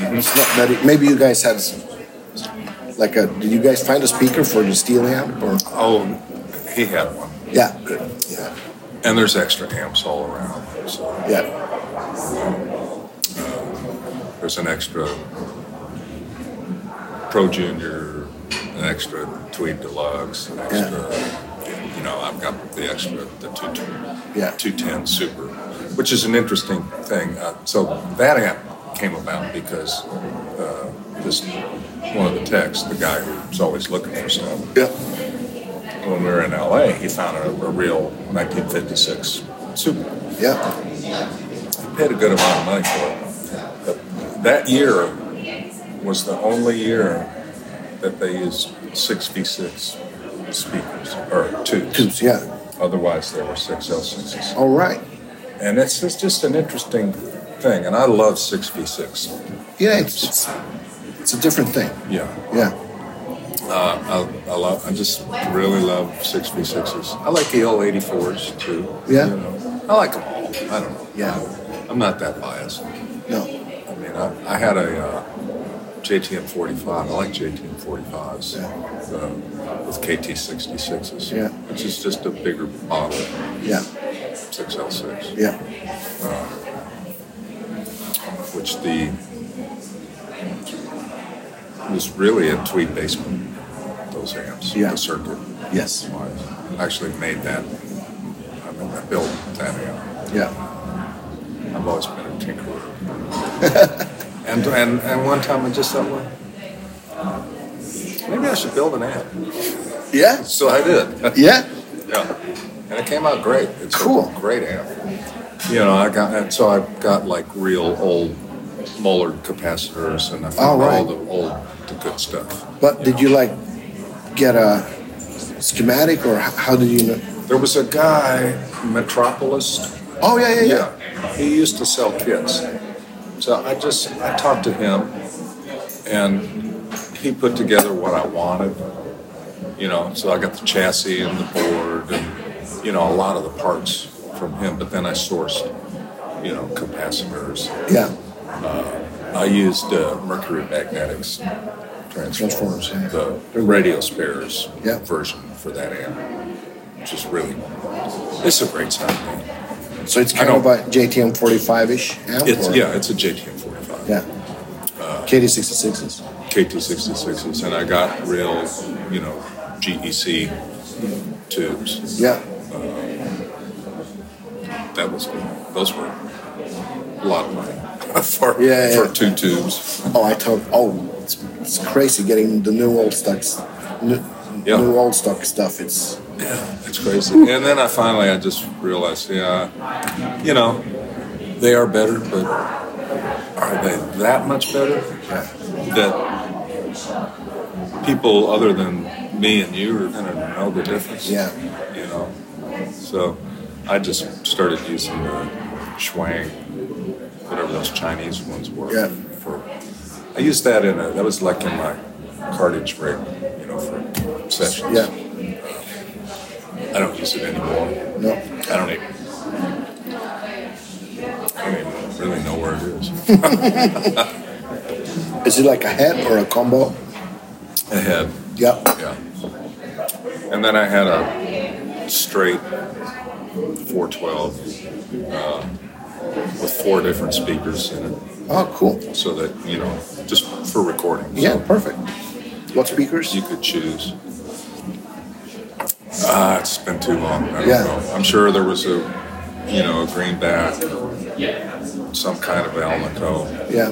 [SPEAKER 1] It's not that it- maybe you guys had s- like a. Did you guys find a speaker for the steel amp or?
[SPEAKER 2] Oh, he had one.
[SPEAKER 1] Yeah. Yeah.
[SPEAKER 2] And there's extra amps all around. So
[SPEAKER 1] Yeah.
[SPEAKER 2] there's an extra Pro Junior, an extra Tweed Deluxe, an extra. You know, I've got the extra the two
[SPEAKER 1] Yeah.
[SPEAKER 2] 210 Super, which is an interesting thing. Uh, so that amp came about because uh, this one of the techs, the guy who's always looking for stuff,
[SPEAKER 1] Yeah.
[SPEAKER 2] when we were in LA, he found a, a real 1956 Super.
[SPEAKER 1] Yeah.
[SPEAKER 2] paid a good amount of money for it. But that year was the only year that they used six V six speakers or two.
[SPEAKER 1] Tubes. Yeah.
[SPEAKER 2] Otherwise, there were six L sixes,
[SPEAKER 1] All right.
[SPEAKER 2] and it's, it's just an interesting thing. And I love six V six.
[SPEAKER 1] Yeah, it's, it's it's a different thing.
[SPEAKER 2] Yeah,
[SPEAKER 1] Yeah.
[SPEAKER 2] uh, I, I love. I just really love six V sixes. I like the L eighty fours too.
[SPEAKER 1] Yeah.
[SPEAKER 2] you know. I like them all. I don't know.
[SPEAKER 1] Yeah.
[SPEAKER 2] I'm not that biased.
[SPEAKER 1] No.
[SPEAKER 2] I mean, I, I had a uh, JTM 45. I like JTM 45s uh, with KT 66s,
[SPEAKER 1] Yeah.
[SPEAKER 2] which is just a bigger bottle,
[SPEAKER 1] Yeah.
[SPEAKER 2] 6L6,
[SPEAKER 1] Yeah.
[SPEAKER 2] which the was really a tweed basement, those amps,
[SPEAKER 1] Yeah.
[SPEAKER 2] the circuit.
[SPEAKER 1] Yes.
[SPEAKER 2] I actually made that. I mean, I built that amp.
[SPEAKER 1] Yeah.
[SPEAKER 2] I've always been a tinkerer. and, and and one time I just thought, well, maybe I should build an app.
[SPEAKER 1] Yeah.
[SPEAKER 2] So I did.
[SPEAKER 1] Yeah.
[SPEAKER 2] yeah. And it came out great. It's
[SPEAKER 1] Cool.
[SPEAKER 2] a great app. You know, I got and so I got like real old molar capacitors and I found
[SPEAKER 1] Oh, right.
[SPEAKER 2] all the old the good stuff.
[SPEAKER 1] But did you like get a schematic or h- how did you know?
[SPEAKER 2] There was a guy, Metropolis,
[SPEAKER 1] Oh yeah, yeah, yeah.
[SPEAKER 2] Yeah, he used to sell kits. So I just I talked to him, and he put together what I wanted. You know, so I got the chassis and the board, and you know a lot of the parts from him. But then I sourced, you know, capacitors.
[SPEAKER 1] Yeah.
[SPEAKER 2] I used uh, mercury magnetics transformers,
[SPEAKER 1] Transformers, yeah.
[SPEAKER 2] the radio spares
[SPEAKER 1] Yeah.
[SPEAKER 2] version for that amp, which is really it's a great sound. man.
[SPEAKER 1] So it's
[SPEAKER 2] I
[SPEAKER 1] kind of
[SPEAKER 2] know.
[SPEAKER 1] a JTM 45 ish amp.
[SPEAKER 2] It's
[SPEAKER 1] or-
[SPEAKER 2] yeah, it's a JTM 45.
[SPEAKER 1] Yeah. KD66s.
[SPEAKER 2] KT66s, and I got real, you know, GEC tubes.
[SPEAKER 1] Yeah.
[SPEAKER 2] That was those were a lot of money for
[SPEAKER 1] Yeah, yeah.
[SPEAKER 2] for two tubes.
[SPEAKER 1] Oh, I took. Oh, it's, it's crazy getting the new old stocks. New,
[SPEAKER 2] Yeah.
[SPEAKER 1] new old stock stuff. It's
[SPEAKER 2] It's crazy. and then I finally I just realized, yeah, you know, they are better, but are they that much better that people other than me and you are gonna know the difference?
[SPEAKER 1] Yeah.
[SPEAKER 2] You know, so I just started using the Schwang, whatever those Chinese ones were.
[SPEAKER 1] Yeah.
[SPEAKER 2] For I used that in a that was like in my cartage rig, you know, for sessions.
[SPEAKER 1] yeah.
[SPEAKER 2] I don't use it anymore.
[SPEAKER 1] No.
[SPEAKER 2] I don't even. I don't even really know where it is.
[SPEAKER 1] Is it like a head or a combo?
[SPEAKER 2] I had,
[SPEAKER 1] Yeah.
[SPEAKER 2] yeah. And then I had a straight 412 uh, with four different speakers in it,
[SPEAKER 1] Oh, cool.
[SPEAKER 2] so that you know, just for recording.
[SPEAKER 1] Yeah, perfect. What speakers?
[SPEAKER 2] You could choose. Ah, it's been too long. I don't
[SPEAKER 1] Yeah.
[SPEAKER 2] know. I'm sure there was a, you know, a greenback, some kind of Alnico,
[SPEAKER 1] Yeah,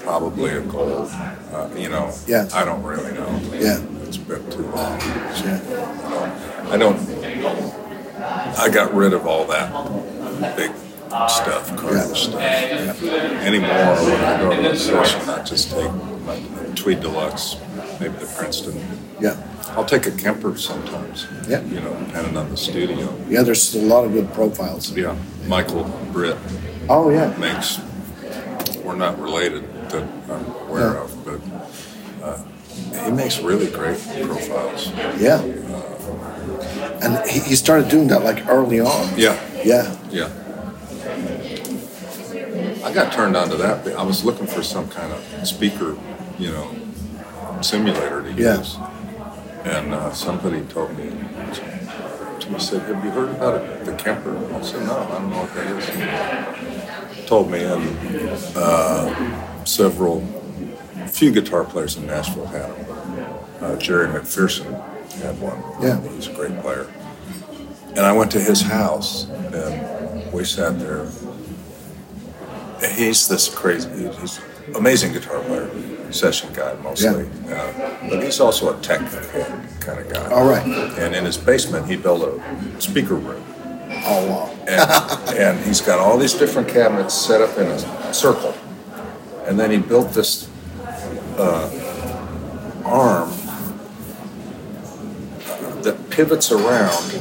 [SPEAKER 2] probably a gold. Uh, you know,
[SPEAKER 1] Yeah.
[SPEAKER 2] I don't really know.
[SPEAKER 1] Yeah.
[SPEAKER 2] It's been too long.
[SPEAKER 1] yeah,
[SPEAKER 2] I don't. I got rid of all that big stuff, cargo
[SPEAKER 1] Yeah.
[SPEAKER 2] stuff. Anymore, when I go to a session, I just take my Tweed Deluxe, maybe the Princeton.
[SPEAKER 1] yeah.
[SPEAKER 2] I'll take a Kemper sometimes.
[SPEAKER 1] Yeah.
[SPEAKER 2] You know, depending on the studio.
[SPEAKER 1] Yeah, there's a lot of good profiles.
[SPEAKER 2] Yeah. Michael Britt
[SPEAKER 1] Oh yeah,
[SPEAKER 2] makes. We're not related that I'm aware
[SPEAKER 1] Yeah.
[SPEAKER 2] of, but uh, he makes really great profiles.
[SPEAKER 1] yeah. And he, he started doing that like early on.
[SPEAKER 2] Yeah.
[SPEAKER 1] Yeah,
[SPEAKER 2] Yeah. I got turned on to that. I was looking for some kind of speaker, you know, simulator to
[SPEAKER 1] Yeah.
[SPEAKER 2] use. And uh, somebody told me, he said, Have you heard about it, the Kemper? I said, No, I don't know what that is. Told me, and uh, several, a few guitar players in Nashville had them. Uh, Jerry McPherson had one.
[SPEAKER 1] Yeah.
[SPEAKER 2] He's a great player. And I went to his house and we sat there. He's this crazy, he's an amazing guitar player, session guy mostly. Uh, but he's also a technical kind of guy.
[SPEAKER 1] All right.
[SPEAKER 2] And in his basement, he built a speaker room.
[SPEAKER 1] Oh wow.
[SPEAKER 2] And, and he's got all these different cabinets set up in a circle. And then he built this uh, arm that pivots around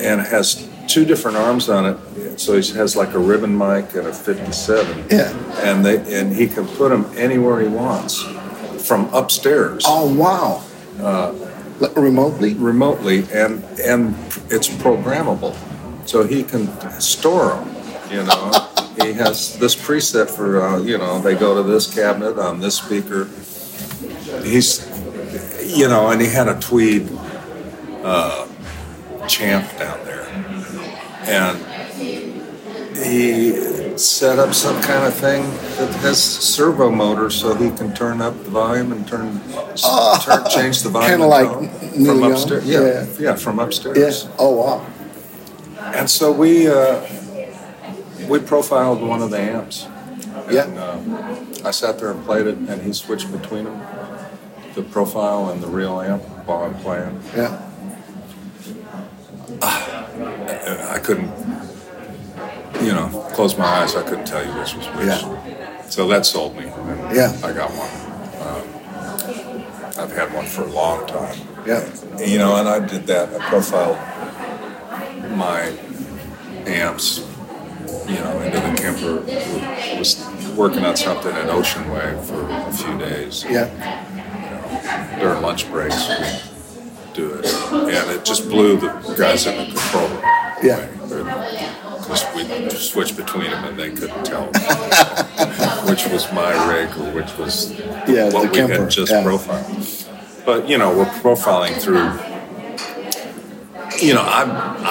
[SPEAKER 2] and has two different arms on it. So he has like a ribbon mic and a 57.
[SPEAKER 1] Yeah.
[SPEAKER 2] And they and he can put them anywhere he wants from upstairs
[SPEAKER 1] Oh wow. Uh, remotely?
[SPEAKER 2] remotely and and it's programmable so he can store them you know he has this preset for uh, you know they go to this cabinet on this speaker he's you know and he had a tweed uh, champ down there and he set up some kind of thing that has servo motor so he can turn up the volume and turn, turn change the volume
[SPEAKER 1] Kinda
[SPEAKER 2] and
[SPEAKER 1] like
[SPEAKER 2] tone
[SPEAKER 1] Neil
[SPEAKER 2] from
[SPEAKER 1] Young.
[SPEAKER 2] upstairs
[SPEAKER 1] Yeah.
[SPEAKER 2] yeah yeah from upstairs
[SPEAKER 1] Yeah. Oh wow.
[SPEAKER 2] and so we uh, we profiled one of the amps.
[SPEAKER 1] Yeah.
[SPEAKER 2] And, uh, I sat there and played it, and he switched between them, the profile and the real amp while I'm playing.
[SPEAKER 1] Yeah.
[SPEAKER 2] And I couldn't, you know, close my eyes. I couldn't tell you which was which. So that sold me. And
[SPEAKER 1] Yeah.
[SPEAKER 2] I got one. Um, I've had one for a long time.
[SPEAKER 1] Yeah.
[SPEAKER 2] You know, and I did that. I profiled my amps, you know, into the Kemper. I was working on something at Ocean Wave for a few days.
[SPEAKER 1] Yeah.
[SPEAKER 2] During lunch breaks, we do it. And it just blew the guys in the control room.
[SPEAKER 1] Yeah.
[SPEAKER 2] Because we switched between them and they couldn't tell which was my rig or which was
[SPEAKER 1] Yeah.
[SPEAKER 2] what
[SPEAKER 1] the
[SPEAKER 2] we
[SPEAKER 1] Kemper.
[SPEAKER 2] had just
[SPEAKER 1] yeah.
[SPEAKER 2] profiled. But you know, we're profiling through. You know, I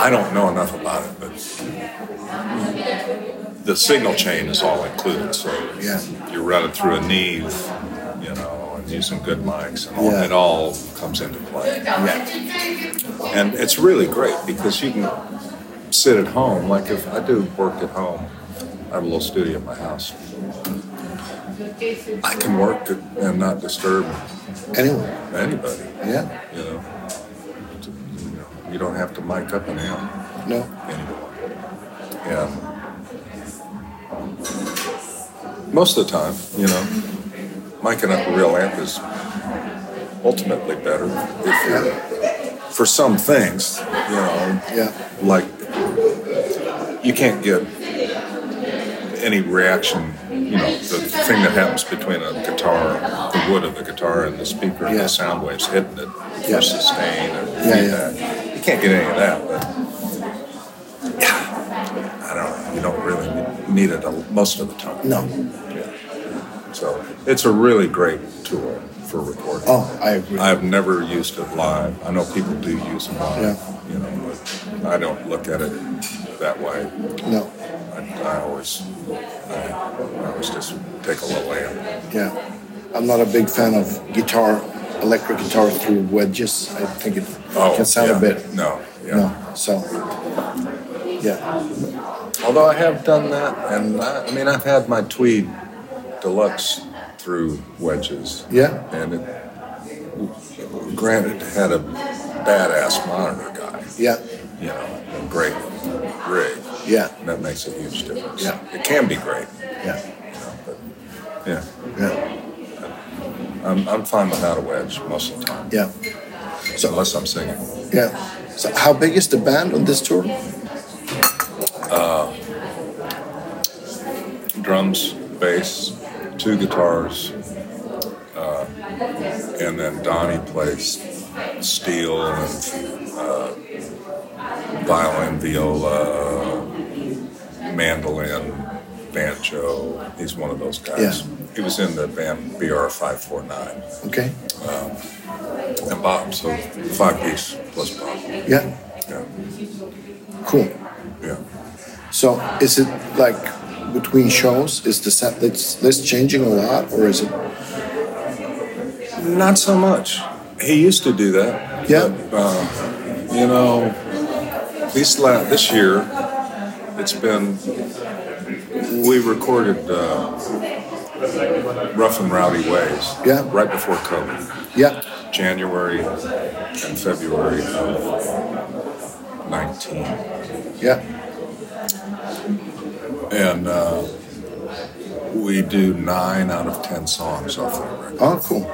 [SPEAKER 2] I don't know enough about it, but the signal chain is all included. So
[SPEAKER 1] Yeah.
[SPEAKER 2] you're running through a Neve, you know, and using good mics, and all,
[SPEAKER 1] Yeah.
[SPEAKER 2] it all comes into play.
[SPEAKER 1] Yeah.
[SPEAKER 2] And it's really great because you can sit at home. Like if I do work at home, I have a little studio at my house. I can work and not disturb
[SPEAKER 1] Anyway.
[SPEAKER 2] anybody.
[SPEAKER 1] Yeah.
[SPEAKER 2] You know, It's, you know, you don't have to mic up an amp
[SPEAKER 1] No.
[SPEAKER 2] anymore. Yeah. Most of the time, you know, micing up a real amp is ultimately better if you're, for some things, you know,
[SPEAKER 1] Yeah.
[SPEAKER 2] like you can't get any reaction you know the thing that happens between a guitar the wood of the guitar and the speaker and
[SPEAKER 1] Yeah.
[SPEAKER 2] the sound waves hitting it
[SPEAKER 1] Yeah.
[SPEAKER 2] or sustain or
[SPEAKER 1] Yeah, yeah.
[SPEAKER 2] feedback you can't get any of that but i don't know you don't really need it a- most of the time
[SPEAKER 1] No.
[SPEAKER 2] yeah. so it's a really great tool for recording
[SPEAKER 1] Oh, I agree.
[SPEAKER 2] I've never used it live. I know people do use it live,
[SPEAKER 1] Yeah.
[SPEAKER 2] you know, but I don't look at it that way.
[SPEAKER 1] No.
[SPEAKER 2] I, I always, I, I always just take a low end.
[SPEAKER 1] Yeah. I'm not a big fan of guitar, electric guitar through wedges. I think it can sound
[SPEAKER 2] Oh, yeah.
[SPEAKER 1] a bit.
[SPEAKER 2] No, yeah.
[SPEAKER 1] No. So, yeah.
[SPEAKER 2] Although I have done that, and I, I mean, I've had my tweed deluxe through wedges.
[SPEAKER 1] Yeah.
[SPEAKER 2] And it, granted, had a badass monitor guy,
[SPEAKER 1] Yeah.
[SPEAKER 2] you know, a great rig.
[SPEAKER 1] Yeah.
[SPEAKER 2] And that makes a huge difference.
[SPEAKER 1] Yeah.
[SPEAKER 2] It can be great,
[SPEAKER 1] Yeah.
[SPEAKER 2] you know, but yeah,
[SPEAKER 1] Yeah.
[SPEAKER 2] I'm, I'm fine without a wedge most of the time,
[SPEAKER 1] Yeah.
[SPEAKER 2] unless I'm singing.
[SPEAKER 1] Yeah. So, how big is the band on this tour?
[SPEAKER 2] drums, bass, two guitars, uh, and then Donnie plays steel and uh, violin, viola, mandolin, banjo. He's one of those guys.
[SPEAKER 1] Yeah.
[SPEAKER 2] He was in the band BR five four nine
[SPEAKER 1] Okay.
[SPEAKER 2] and Bob, so five piece plus Bob.
[SPEAKER 1] Yeah.
[SPEAKER 2] Yeah,
[SPEAKER 1] Cool.
[SPEAKER 2] yeah.
[SPEAKER 1] So, is it like between shows? Is the set list, list changing a lot, or is it?
[SPEAKER 2] Not so much. He used to do that.
[SPEAKER 1] Yeah.
[SPEAKER 2] But, uh, you know, these la- this year, it's been. We recorded uh, Rough and Rowdy Ways.
[SPEAKER 1] Yeah.
[SPEAKER 2] Right before COVID,
[SPEAKER 1] Yeah.
[SPEAKER 2] January and February of 19.
[SPEAKER 1] Yeah.
[SPEAKER 2] And uh, we do nine out of 10 songs off that record.
[SPEAKER 1] Oh, cool.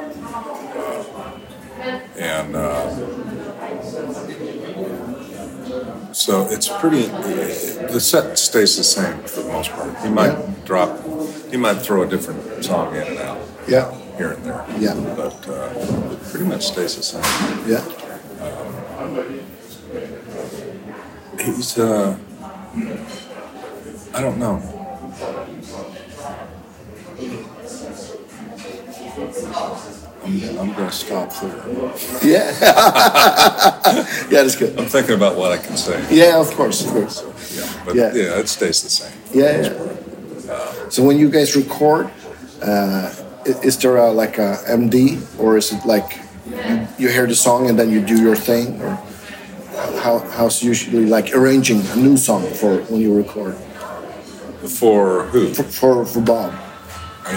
[SPEAKER 2] and uh, so it's pretty. The set stays the same for the most part. He might
[SPEAKER 1] Yeah.
[SPEAKER 2] drop, he might throw a different song in and out
[SPEAKER 1] Yeah.
[SPEAKER 2] here and there.
[SPEAKER 1] Yeah.
[SPEAKER 2] but uh, it pretty much stays the same.
[SPEAKER 1] Yeah.
[SPEAKER 2] He's, uh, I don't know. I'm, I'm gonna stop there.
[SPEAKER 1] Yeah. yeah, that's good.
[SPEAKER 2] I'm thinking about what I can say.
[SPEAKER 1] Yeah, of course, of course.
[SPEAKER 2] Yeah, but
[SPEAKER 1] Yeah.
[SPEAKER 2] yeah, it stays the same.
[SPEAKER 1] Yeah. yeah. So when you guys record, uh, i- is there a, like a MD or is it like you, you hear the song and then you do your thing or how, how's usually like arranging a new song for when you record
[SPEAKER 2] For who?
[SPEAKER 1] for, for, for Bob?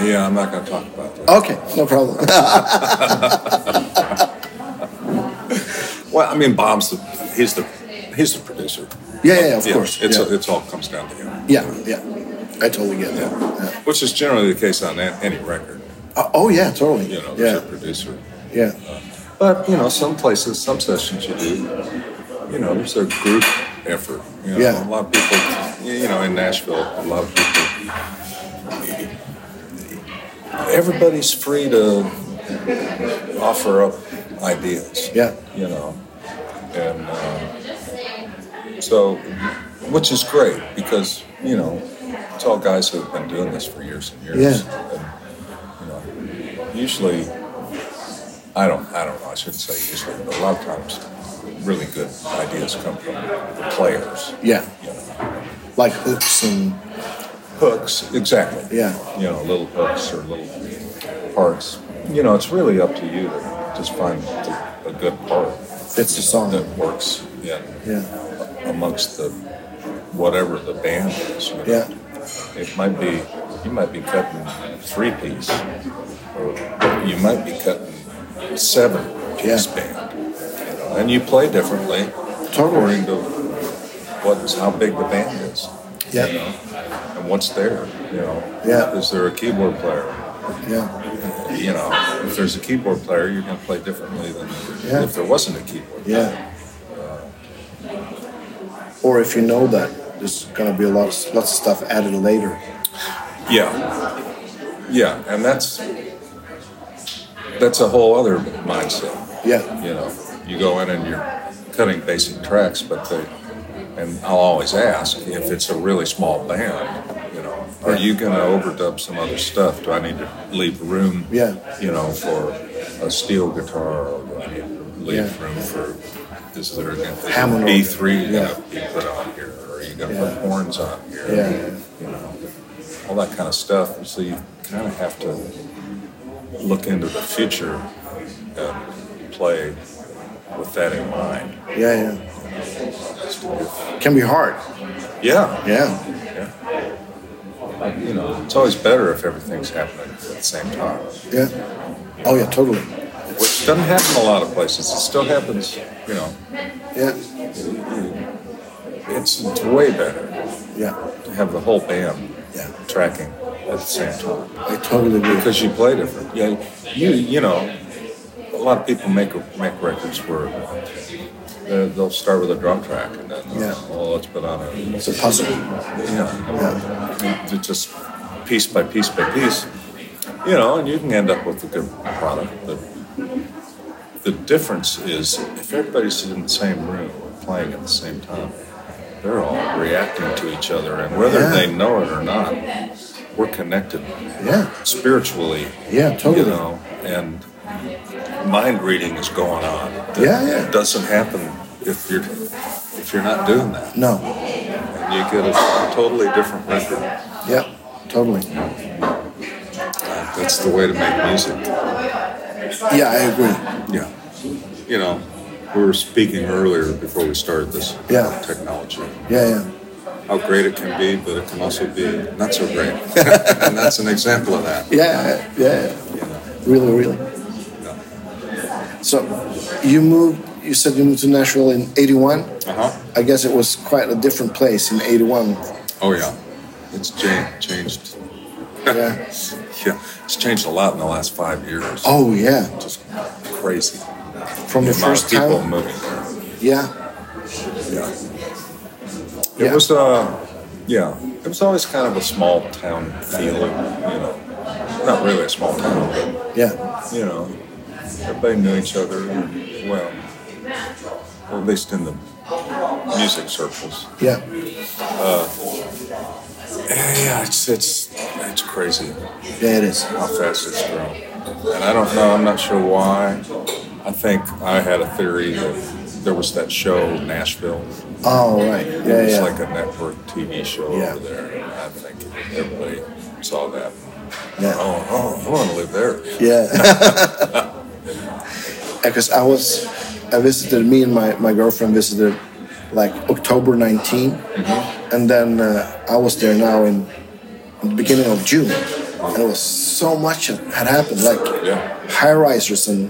[SPEAKER 2] Yeah, I'm not going to talk about that.
[SPEAKER 1] Okay, no problem.
[SPEAKER 2] Well, I mean, Bob's the he's the he's the producer.
[SPEAKER 1] yeah, yeah, of course.
[SPEAKER 2] It's
[SPEAKER 1] yeah.
[SPEAKER 2] it's all comes down to him.
[SPEAKER 1] yeah, yeah. I totally get that.
[SPEAKER 2] Yeah.
[SPEAKER 1] Yeah.
[SPEAKER 2] Which is generally the case on a- any record.
[SPEAKER 1] Uh, oh yeah, totally.
[SPEAKER 2] You know, there's
[SPEAKER 1] yeah,
[SPEAKER 2] a producer.
[SPEAKER 1] yeah,
[SPEAKER 2] But you know, some places, some sessions you do, you know, there's a group effort. You know,
[SPEAKER 1] Yeah.
[SPEAKER 2] A lot of people, you know, in Nashville, a lot of people. Everybody's free to offer up ideas.
[SPEAKER 1] Yeah.
[SPEAKER 2] You know, and uh, so, which is great because you know, it's all guys who have been doing this for years and years. And, you know, usually. I don't, I don't know, I shouldn't say usually, but a lot of times really good ideas come from the players.
[SPEAKER 1] yeah.
[SPEAKER 2] You know,
[SPEAKER 1] Like hooks and
[SPEAKER 2] hooks, exactly.
[SPEAKER 1] Yeah.
[SPEAKER 2] You know, little hooks or little parts. You know, it's really up to you to just find the, a good part.
[SPEAKER 1] Fits the
[SPEAKER 2] you know,
[SPEAKER 1] song.
[SPEAKER 2] That works in
[SPEAKER 1] yeah,
[SPEAKER 2] amongst the, whatever the band is. you know.
[SPEAKER 1] Yeah.
[SPEAKER 2] It might be, you might be cutting three piece, or you might be cutting seven piece
[SPEAKER 1] Yeah.
[SPEAKER 2] band. you know, And you play differently
[SPEAKER 1] totally.
[SPEAKER 2] according to what's, how big the band is. you
[SPEAKER 1] Yeah.
[SPEAKER 2] know, And what's there, you know?
[SPEAKER 1] Yeah.
[SPEAKER 2] Is there a keyboard player?
[SPEAKER 1] Yeah,
[SPEAKER 2] You know, if there's a keyboard player, you're gonna play differently than
[SPEAKER 1] Yeah.
[SPEAKER 2] if there wasn't a keyboard.
[SPEAKER 1] yeah. Or if you know that there's gonna be a lot, of, lots of stuff added later.
[SPEAKER 2] Yeah. Yeah, and that's that's a whole other mindset.
[SPEAKER 1] Yeah,
[SPEAKER 2] You know, you go in and you're cutting basic tracks, but they and I'll always ask if it's a really small band, you know, are you going to overdub some other stuff? Do I need to leave room,
[SPEAKER 1] Yeah.
[SPEAKER 2] you know, for a steel guitar or do I need to leave
[SPEAKER 1] Yeah.
[SPEAKER 2] room for this is their
[SPEAKER 1] Hammond
[SPEAKER 2] B three you
[SPEAKER 1] organ,
[SPEAKER 2] gotta be put on here, or you gotta
[SPEAKER 1] Yeah.
[SPEAKER 2] put horns on here.
[SPEAKER 1] Yeah.
[SPEAKER 2] You know, all that kind of stuff. And So you kind of have to look into the future and play with that in mind.
[SPEAKER 1] Yeah, yeah. Can be hard.
[SPEAKER 2] Yeah.
[SPEAKER 1] Yeah,
[SPEAKER 2] Yeah. You know, it's always better if everything's happening at the same time,
[SPEAKER 1] yeah. Oh yeah, totally.
[SPEAKER 2] which doesn't happen in a lot of places. It still happens, you know,
[SPEAKER 1] Yeah,
[SPEAKER 2] it's, it's way better
[SPEAKER 1] yeah,
[SPEAKER 2] to have the whole band
[SPEAKER 1] yeah.
[SPEAKER 2] tracking at the same time
[SPEAKER 1] I totally agree.
[SPEAKER 2] because you play different. Yeah, you you know, a lot of people make make records where they're- they'll start with a drum track and then
[SPEAKER 1] Yeah.
[SPEAKER 2] oh let's put on a
[SPEAKER 1] It's a puzzle.
[SPEAKER 2] Yeah.
[SPEAKER 1] Yeah,
[SPEAKER 2] It's just piece by piece by piece, you know, and you can end up with a good product. But the difference is if everybody's sitting in the same room or playing at the same time, they're all reacting to each other, and whether
[SPEAKER 1] Yeah.
[SPEAKER 2] they know it or not, we're connected
[SPEAKER 1] yeah,
[SPEAKER 2] spiritually,
[SPEAKER 1] yeah.
[SPEAKER 2] you
[SPEAKER 1] Totally.
[SPEAKER 2] know, and mind reading is going on. That
[SPEAKER 1] Yeah, yeah.
[SPEAKER 2] doesn't happen if you're if you're not doing that.
[SPEAKER 1] No.
[SPEAKER 2] And you get a totally different record.
[SPEAKER 1] Yeah, totally.
[SPEAKER 2] That's the way to make music.
[SPEAKER 1] Yeah, I agree.
[SPEAKER 2] Yeah. You know, we were speaking earlier before we started this about
[SPEAKER 1] Yeah.
[SPEAKER 2] technology.
[SPEAKER 1] Yeah, yeah.
[SPEAKER 2] How great it can be, but it can also be not so great. and that's an example of that.
[SPEAKER 1] Yeah, yeah,
[SPEAKER 2] You know,
[SPEAKER 1] really, really. So, you moved. You said you moved to Nashville in '81.
[SPEAKER 2] Uh huh.
[SPEAKER 1] I guess it was quite a different place in '81.
[SPEAKER 2] Oh yeah, it's cha- changed.
[SPEAKER 1] Yeah.
[SPEAKER 2] Yeah, it's changed a lot in the last five years.
[SPEAKER 1] Oh yeah.
[SPEAKER 2] Just crazy.
[SPEAKER 1] From the
[SPEAKER 2] amount of
[SPEAKER 1] first
[SPEAKER 2] people
[SPEAKER 1] time.
[SPEAKER 2] moving there.
[SPEAKER 1] Yeah.
[SPEAKER 2] Yeah. It
[SPEAKER 1] Yeah.
[SPEAKER 2] was uh yeah. It was always kind of a small town feel, you know. Not really a small town, but
[SPEAKER 1] Yeah.
[SPEAKER 2] you know, everybody knew each other and, well. Or at least in the music circles.
[SPEAKER 1] Yeah.
[SPEAKER 2] Yeah, yeah, it's it's it's crazy
[SPEAKER 1] Yeah, it is.
[SPEAKER 2] how fast it's grown. And I don't know, I'm not sure why. I think I had a theory that there was that show Nashville
[SPEAKER 1] Oh right. Yeah,
[SPEAKER 2] It's
[SPEAKER 1] yeah.
[SPEAKER 2] like a network TV show
[SPEAKER 1] Yeah.
[SPEAKER 2] over there. and I think everybody saw that.
[SPEAKER 1] yeah.
[SPEAKER 2] Oh, oh, I want to live there.
[SPEAKER 1] Yeah. Because I was, I visited, me and my, my girlfriend visited like October 19.
[SPEAKER 2] Mm-hmm.
[SPEAKER 1] And then uh, I was there now in the beginning of June. And it was so much had had happened, like
[SPEAKER 2] Yeah,
[SPEAKER 1] high risers and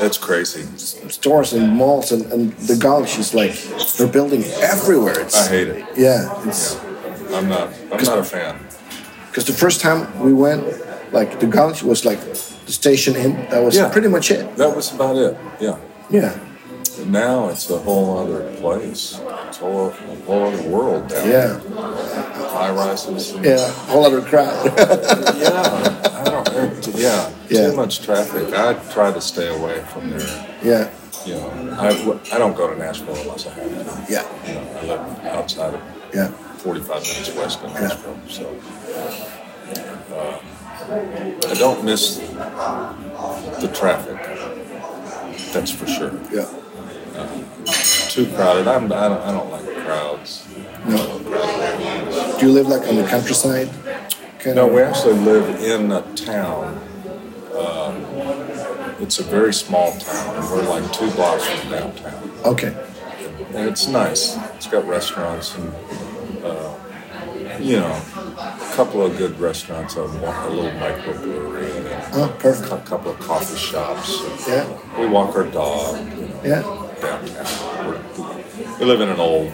[SPEAKER 2] that's crazy.
[SPEAKER 1] stores and malls and, and the gulch is like, they're building everywhere. It's,
[SPEAKER 2] I hate it.
[SPEAKER 1] yeah, it's,
[SPEAKER 2] I'm not. I'm not a fan.
[SPEAKER 1] Because the first time we went, like the gulch was like the station inn. That was
[SPEAKER 2] Yeah.
[SPEAKER 1] pretty much it.
[SPEAKER 2] That was about it. Yeah.
[SPEAKER 1] Yeah.
[SPEAKER 2] But now it's a whole other place. It's a whole, a whole other world down
[SPEAKER 1] Yeah.
[SPEAKER 2] there. High rises. and-
[SPEAKER 1] Yeah, whole other crowd.
[SPEAKER 2] Yeah. I don't. it- Yeah.
[SPEAKER 1] Yeah.
[SPEAKER 2] Too much traffic. I try to stay away from there.
[SPEAKER 1] yeah,
[SPEAKER 2] You know, I, I don't go to Nashville unless I have to.
[SPEAKER 1] yeah,
[SPEAKER 2] You know, I live outside of
[SPEAKER 1] yeah,
[SPEAKER 2] 45 minutes west of Nashville. So uh, I don't miss the traffic. That's for sure.
[SPEAKER 1] yeah.
[SPEAKER 2] Too crowded. I'm, I, don't, I don't like crowds.
[SPEAKER 1] No. Do you live like on the countryside? Kind
[SPEAKER 2] No,
[SPEAKER 1] of-
[SPEAKER 2] we actually live in a town. Um, it's a very small town, and we're like two blocks from downtown.
[SPEAKER 1] Okay.
[SPEAKER 2] and it's nice. It's got restaurants and uh, you know, a couple of good restaurants, a, wa- a little microbrewery, and a
[SPEAKER 1] Oh, perfect.
[SPEAKER 2] cou- couple of coffee shops.
[SPEAKER 1] Yeah.
[SPEAKER 2] We walk our dog you know,
[SPEAKER 1] Yeah.
[SPEAKER 2] downtown. We're, we live in an old,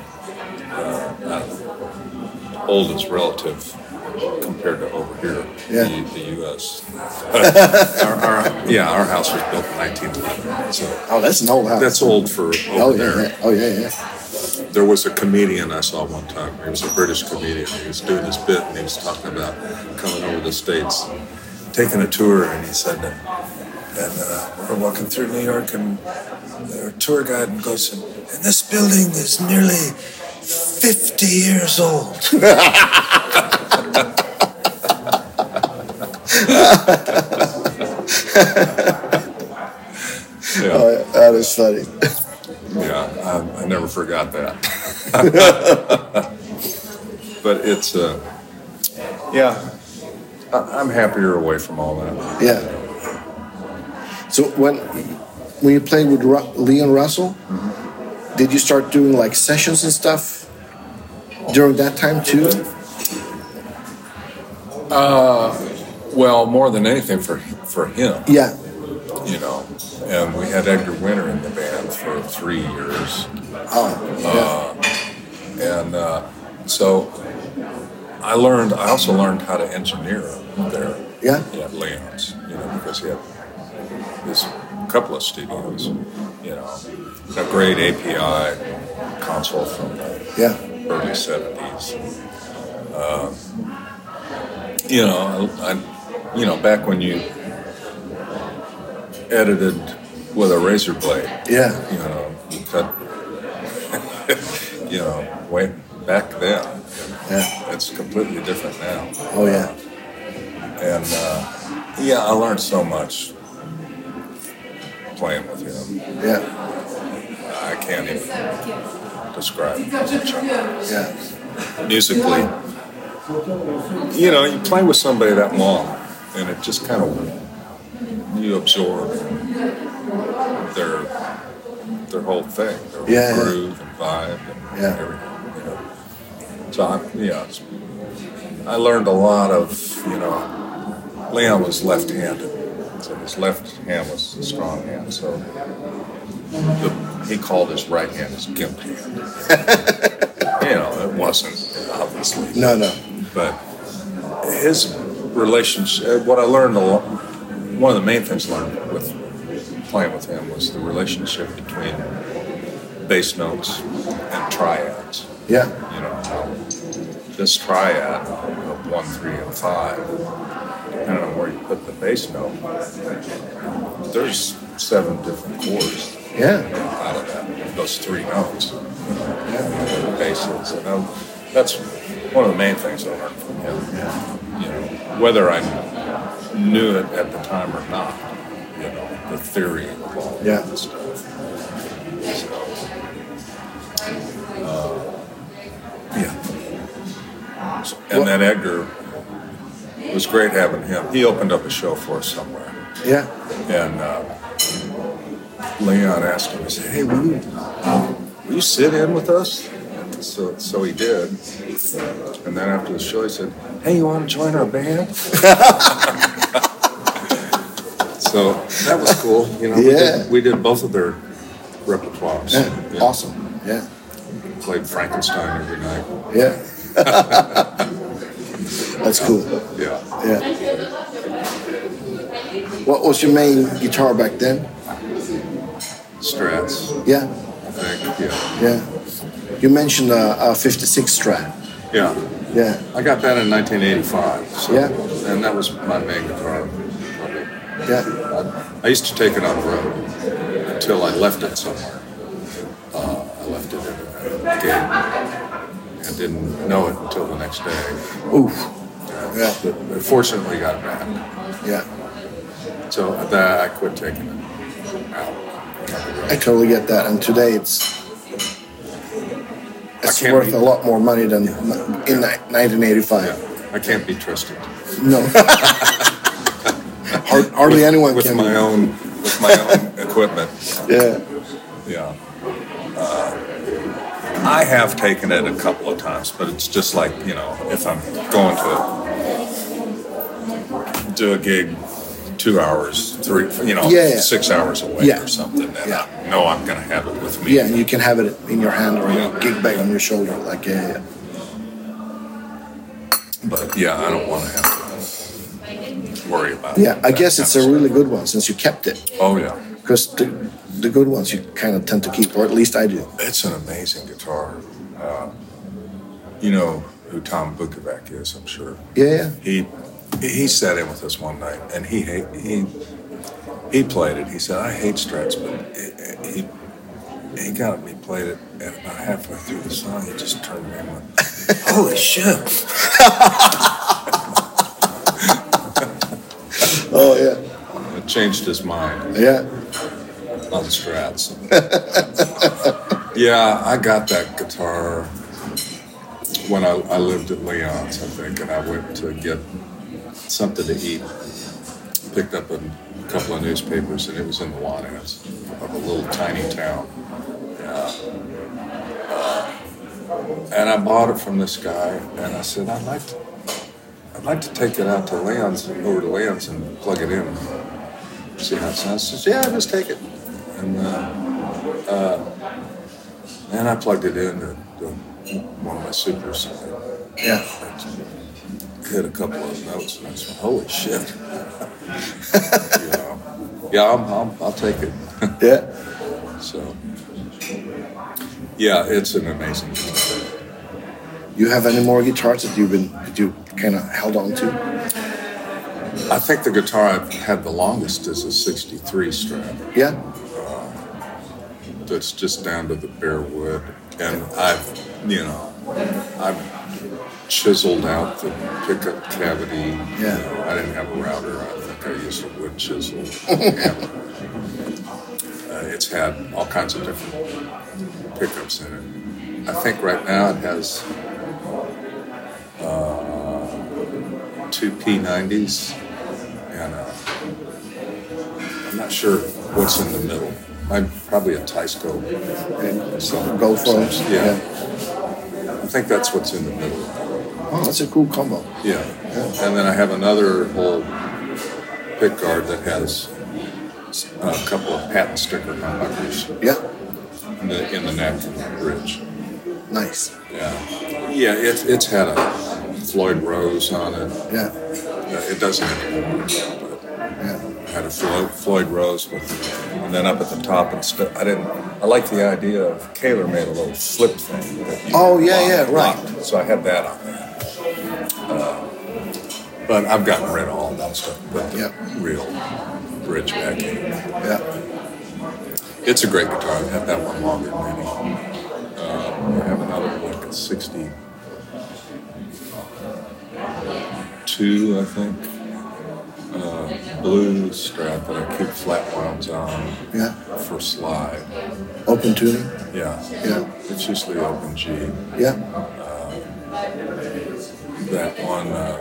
[SPEAKER 2] uh, I don't know, old is relative compared to over here,
[SPEAKER 1] Yeah.
[SPEAKER 2] the, the U.S. our, our, yeah, our house was built in 1911, so
[SPEAKER 1] Oh, that's an old house.
[SPEAKER 2] that's old for over
[SPEAKER 1] oh
[SPEAKER 2] there.
[SPEAKER 1] yeah, yeah. Oh yeah, yeah.
[SPEAKER 2] There was a comedian I saw one time. He was a British comedian. He was doing his bit and he was talking about coming over the States, taking a tour, and he said that. And uh, we're walking through New York, and our tour guide and goes, and this building is nearly 50 years old. Yeah.
[SPEAKER 1] Oh, that is funny.
[SPEAKER 2] Yeah, I, I never forgot that. but it's uh, yeah, I, I'm happier away from all that.
[SPEAKER 1] yeah. So when when you played with Ru- Leon Russell,
[SPEAKER 2] Mm-hmm.
[SPEAKER 1] did you start doing like sessions and stuff during that time too?
[SPEAKER 2] Well, more than anything for for him,
[SPEAKER 1] Yeah.
[SPEAKER 2] you know. And we had Edgar Winter in the band for three years,
[SPEAKER 1] Oh, yeah.
[SPEAKER 2] Uh. and uh, so I learned. I also learned how to engineer there.
[SPEAKER 1] Yeah.
[SPEAKER 2] at Leon's, you know, because he had this couple of studios, you know, a great API console from the
[SPEAKER 1] yeah,
[SPEAKER 2] early 70s. Uh, you know, I, I, you know, back when you edited with a razor blade,
[SPEAKER 1] yeah,
[SPEAKER 2] you know, you cut, you know, way back then.
[SPEAKER 1] yeah.
[SPEAKER 2] It's completely different now.
[SPEAKER 1] Oh yeah,
[SPEAKER 2] And uh, yeah, I learned so much playing with him.
[SPEAKER 1] yeah,
[SPEAKER 2] I can't even describe much of it.
[SPEAKER 1] yeah,
[SPEAKER 2] musically. You know, you play with somebody that long, and it just kind of you absorb their their whole thing, their
[SPEAKER 1] Yeah, yeah.
[SPEAKER 2] whole groove and vibe and
[SPEAKER 1] Yeah.
[SPEAKER 2] everything. You know, so I, yeah, it's- I learned a lot of you know. Leon was left-handed, so his left hand was a strong hand. So the, he called his right hand his gimp hand. you know, it wasn't obviously,
[SPEAKER 1] no, no,
[SPEAKER 2] but his relationship. uh, What I learned a lot. One of the main things I learned with playing with him was the relationship between bass notes and triads
[SPEAKER 1] yeah,
[SPEAKER 2] you know, how this triad of one, three, and five, depending on where you put the bass note, there's seven different chords
[SPEAKER 1] yeah,
[SPEAKER 2] out of that, those three notes, you know, the basses. And I- that's one of the main things I learned from him. You know, whether I knew it at the time or not, you know, the theory of all
[SPEAKER 1] Yeah.
[SPEAKER 2] that stuff. So, uh, yeah. And then Edgar it was great having him. He opened up a show for us somewhere.
[SPEAKER 1] yeah,
[SPEAKER 2] And uh, Leon asked him, he said, Hey, will you, will you sit in with us? And so, so he did. And then after the show, he said, Hey, you want to join our band? so that was cool. You know,
[SPEAKER 1] Yeah.
[SPEAKER 2] we, did, we did both of their repertoires.
[SPEAKER 1] yeah.
[SPEAKER 2] Yeah.
[SPEAKER 1] Awesome. Yeah,
[SPEAKER 2] Played Frankenstein every night.
[SPEAKER 1] yeah. That's cool.
[SPEAKER 2] Yeah.
[SPEAKER 1] Yeah. What was your main guitar back then?
[SPEAKER 2] Strats,
[SPEAKER 1] Yeah,
[SPEAKER 2] I think. Yeah.
[SPEAKER 1] yeah. You mentioned uh, a 56 Strat.
[SPEAKER 2] Yeah.
[SPEAKER 1] Yeah,
[SPEAKER 2] I got that in 1985. So,
[SPEAKER 1] Yeah.
[SPEAKER 2] And that was my main guitar. Probably.
[SPEAKER 1] yeah,
[SPEAKER 2] I, I used to take it on the road until I left it somewhere. Uh, I left it at a gig and didn't know it until the next day.
[SPEAKER 1] Oof. Yeah.
[SPEAKER 2] But I fortunately got it back.
[SPEAKER 1] yeah.
[SPEAKER 2] So at that, I quit taking it out.
[SPEAKER 1] I totally get that. And today it's it's
[SPEAKER 2] can't
[SPEAKER 1] worth
[SPEAKER 2] be-
[SPEAKER 1] a lot more money than in ni- 1985.
[SPEAKER 2] Yeah. I can't be trusted.
[SPEAKER 1] No. Hard, hardly anyone
[SPEAKER 2] with
[SPEAKER 1] can.
[SPEAKER 2] my own with my own equipment.
[SPEAKER 1] Yeah,
[SPEAKER 2] Yeah. Uh, I have taken it a couple of times, but it's just like, you know, if I'm going to do a gig two hours, three, you know,
[SPEAKER 1] Yeah, yeah.
[SPEAKER 2] six hours away
[SPEAKER 1] Yeah.
[SPEAKER 2] or something, then
[SPEAKER 1] Yeah.
[SPEAKER 2] I know I'm going to have it with me.
[SPEAKER 1] yeah. And you can have it in your hand or your
[SPEAKER 2] Yeah.
[SPEAKER 1] gig bag on your shoulder. Like, uh, yeah, yeah.
[SPEAKER 2] But yeah, I don't want to have to worry about
[SPEAKER 1] Yeah, I
[SPEAKER 2] that
[SPEAKER 1] guess
[SPEAKER 2] kind
[SPEAKER 1] it's
[SPEAKER 2] of
[SPEAKER 1] a
[SPEAKER 2] stuff.
[SPEAKER 1] really good one since you kept it.
[SPEAKER 2] Oh, yeah.
[SPEAKER 1] Because the, the good ones you kind of tend to keep, or at least I do.
[SPEAKER 2] It's an amazing guitar. Uh, you know who Tom Bukovac is, I'm sure.
[SPEAKER 1] Yeah, yeah.
[SPEAKER 2] he he sat in with us one night and he hate, he he played it. He said, "I hate strats," but he he- he got me played it, and about halfway through the song, he just turned to me and went, "Holy shit!"
[SPEAKER 1] Oh yeah, Oh,
[SPEAKER 2] It changed his mind.
[SPEAKER 1] yeah,
[SPEAKER 2] on strats. yeah, I got that guitar when I, I lived at Leon's, I think, and I went to get something to eat. Picked up a couple of newspapers, and it was in the Juanes of a little tiny town. And I bought it from this guy, and I said, I'd like to, I'd like to take it out to Leon's, over to Leon's and plug it in. See how it sounds. He says, yeah, just take it. And, uh, uh, and I plugged it in to, to one of my supers.
[SPEAKER 1] Yeah.
[SPEAKER 2] Hit a couple of notes, and I said, holy shit. you know, yeah, I'm, I'm, I'll take it.
[SPEAKER 1] Yeah.
[SPEAKER 2] so, yeah, it's an amazing guitar.
[SPEAKER 1] You have any more guitars that you've been that you kind of held on to?
[SPEAKER 2] I think the guitar I've had the longest is a 63 Strat.
[SPEAKER 1] Yeah.
[SPEAKER 2] That's just down to the bare wood. And I've, you know, I've chiseled out the pickup cavity.
[SPEAKER 1] Yeah.
[SPEAKER 2] You know, I didn't have a router. I think I used a wood chisel. hammer. uh, it's had all kinds of different pickups in it. I think right now it has uh, two P90s and uh, I'm not sure what's in the middle. I'm probably a Tysco.
[SPEAKER 1] And
[SPEAKER 2] So
[SPEAKER 1] go for it.
[SPEAKER 2] Yeah. I think that's what's in the middle.
[SPEAKER 1] Oh, that's a cool combo.
[SPEAKER 2] Yeah. And then I have another whole pick guard that has a couple of patent sticker humbuckers
[SPEAKER 1] Yeah.
[SPEAKER 2] in the, in the neck and the bridge.
[SPEAKER 1] Nice.
[SPEAKER 2] Yeah. Yeah, it, it's had a Floyd Rose on it.
[SPEAKER 1] Yeah.
[SPEAKER 2] Uh, It doesn't anymore, but
[SPEAKER 1] Yeah.
[SPEAKER 2] it had a Floyd, Floyd Rose with, and then up at the top and stuff. I didn't, I like the idea of Kaler made a little flip thing. That you
[SPEAKER 1] Oh, yeah, yeah, right.
[SPEAKER 2] locked. So I had that on there. Uh, but I've gotten rid of all that stuff, but the
[SPEAKER 1] Yep.
[SPEAKER 2] real bridge back in.
[SPEAKER 1] Yeah.
[SPEAKER 2] It's a great guitar. I've had that one longer than any. Uh, I have another like a 62, I think. Uh, blue strap that I keep flat wounds on
[SPEAKER 1] Yeah.
[SPEAKER 2] for slide.
[SPEAKER 1] Open tuning.
[SPEAKER 2] Yeah.
[SPEAKER 1] Yeah.
[SPEAKER 2] It's usually open G.
[SPEAKER 1] Yeah.
[SPEAKER 2] that one uh,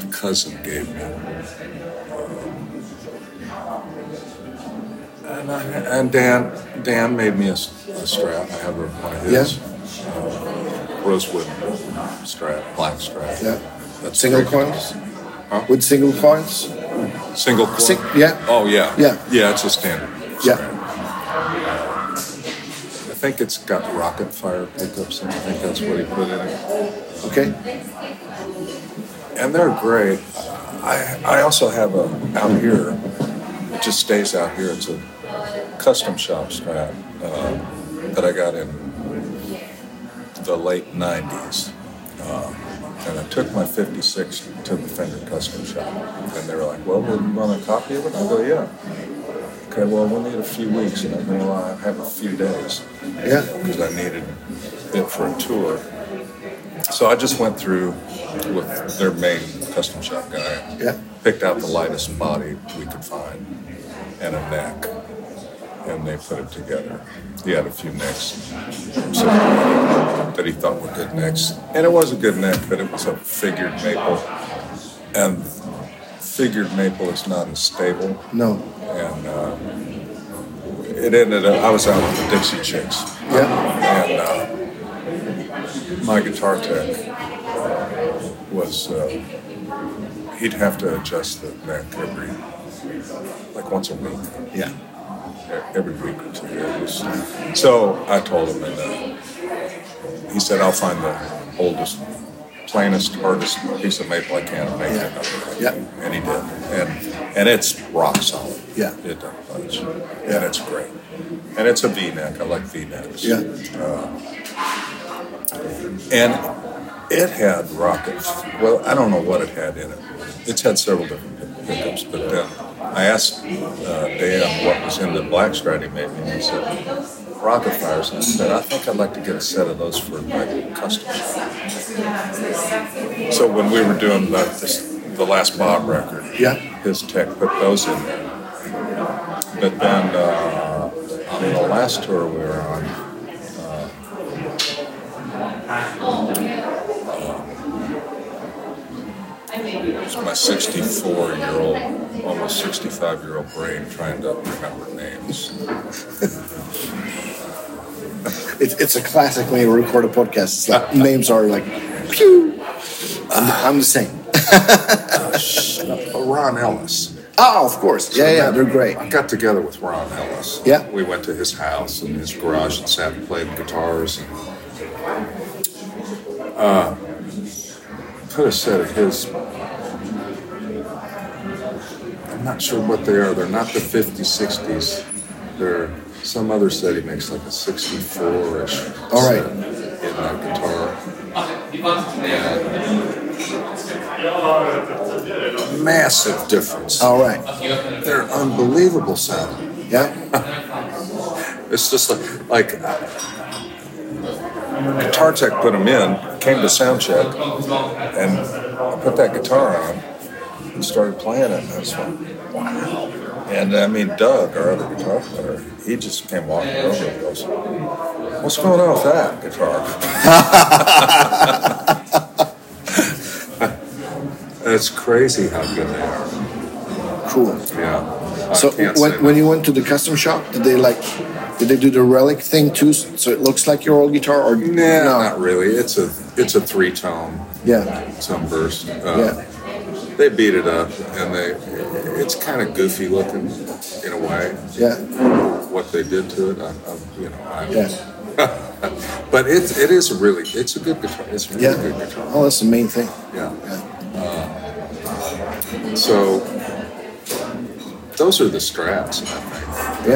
[SPEAKER 2] a cousin gave me. Um, Uh, and, I, and Dan Dan made me a, s- a strap. I have a- one of his. Uh, rosewood strap, black strap.
[SPEAKER 1] Yeah.
[SPEAKER 2] That's
[SPEAKER 1] Single
[SPEAKER 2] great.
[SPEAKER 1] coils. With single coils.
[SPEAKER 2] Single coil.
[SPEAKER 1] Sing- yeah.
[SPEAKER 2] Oh yeah.
[SPEAKER 1] Yeah.
[SPEAKER 2] Yeah, it's a standard.
[SPEAKER 1] Yeah.
[SPEAKER 2] strap. I think it's got rocket fire pickups, and I think that's what he put in it.
[SPEAKER 1] Okay.
[SPEAKER 2] and they're great. I I also have a out here. It just stays out here. It's a custom shop strap uh, that I got in the late '90s, uh, and I took my '56 to the Fender Custom Shop, and they were like, "Well, would you want a copy of it?" I go, "Yeah." Okay, well, we'll need a few weeks, and I'm gonna lie, I have a few days
[SPEAKER 1] Yeah.
[SPEAKER 2] because I needed it for a tour. So I just went through with their main custom shop guy,
[SPEAKER 1] Yeah.
[SPEAKER 2] picked out the lightest body we could find and a neck, and they put it together. He had a few necks so, that he thought were good necks, and it was a good neck, but it was a figured maple, and figured maple is not as stable
[SPEAKER 1] No.
[SPEAKER 2] and uh, it ended up I was out with the Dixie Chicks,
[SPEAKER 1] Yeah.
[SPEAKER 2] and uh, my guitar tech was uh, he'd have to adjust the neck every like once a week,
[SPEAKER 1] Yeah.
[SPEAKER 2] e- every week or two. It was- So I told him, and uh, he said, "I'll find the oldest." Plainest, hardest piece of maple I can and make it. up."
[SPEAKER 1] Yeah.
[SPEAKER 2] And he did. And and it's rock solid.
[SPEAKER 1] Yeah.
[SPEAKER 2] It don't budge. And it's great. And it's a V neck. I like V necks.
[SPEAKER 1] Yeah.
[SPEAKER 2] And it had rockets. Well, I don't know what it had in it. It's had several different pick- pickups, but then I asked uh, Dan what was in the black strat he made me, and he said, rocket fires. And I said, I think I'd like to get a set of those for my custom shop. So when we were doing the, the last Bob record,
[SPEAKER 1] Yeah.
[SPEAKER 2] his tech put those in there. But then uh, on the last tour we were on, uh, it was my 64 year old, almost 65 year old brain trying to remember names.
[SPEAKER 1] It's, it's a classic when you record a podcast. It's like names are like, pew. I'm, I'm the same.
[SPEAKER 2] Uh, Ron Ellis.
[SPEAKER 1] Oh, of course. Yeah, yeah, they're great.
[SPEAKER 2] I got together with Ron Ellis.
[SPEAKER 1] Yeah.
[SPEAKER 2] We went to his house and his garage and sat and played guitars and uh, put a set of his. I'm not sure what they are. They're not the 50s, 60s. They're some other set he makes, like a 64 ish.
[SPEAKER 1] All right.
[SPEAKER 2] In that guitar. uh, Massive difference.
[SPEAKER 1] All right.
[SPEAKER 2] They're unbelievable sounding.
[SPEAKER 1] Yeah.
[SPEAKER 2] It's just like, like Guitar Tech put them in, came to sound check, and I put that guitar on and started playing it. And I was like, wow. And I mean, Doug, our other guitar player, he just came walking over and goes, What's going on with that guitar? it's crazy how good they are.
[SPEAKER 1] Cool.
[SPEAKER 2] Yeah. I
[SPEAKER 1] So
[SPEAKER 2] can't say
[SPEAKER 1] when, when
[SPEAKER 2] that.
[SPEAKER 1] you went to the custom shop, did they like, did they do the relic thing too? So it looks like your old guitar, or
[SPEAKER 2] Nah, not really. It's a it's a three tone
[SPEAKER 1] Yeah.
[SPEAKER 2] sunburst.
[SPEAKER 1] Yeah.
[SPEAKER 2] Uh, They beat it up, and they it's kind of goofy looking in a way.
[SPEAKER 1] Yeah.
[SPEAKER 2] What they did to it, I, I, you know. I,
[SPEAKER 1] Yeah.
[SPEAKER 2] But it's it is a really it's a good guitar. It's a really
[SPEAKER 1] Yeah.
[SPEAKER 2] good guitar.
[SPEAKER 1] Oh, that's the main thing.
[SPEAKER 2] Yeah. Uh, So those are the strats, I think.
[SPEAKER 1] Yeah.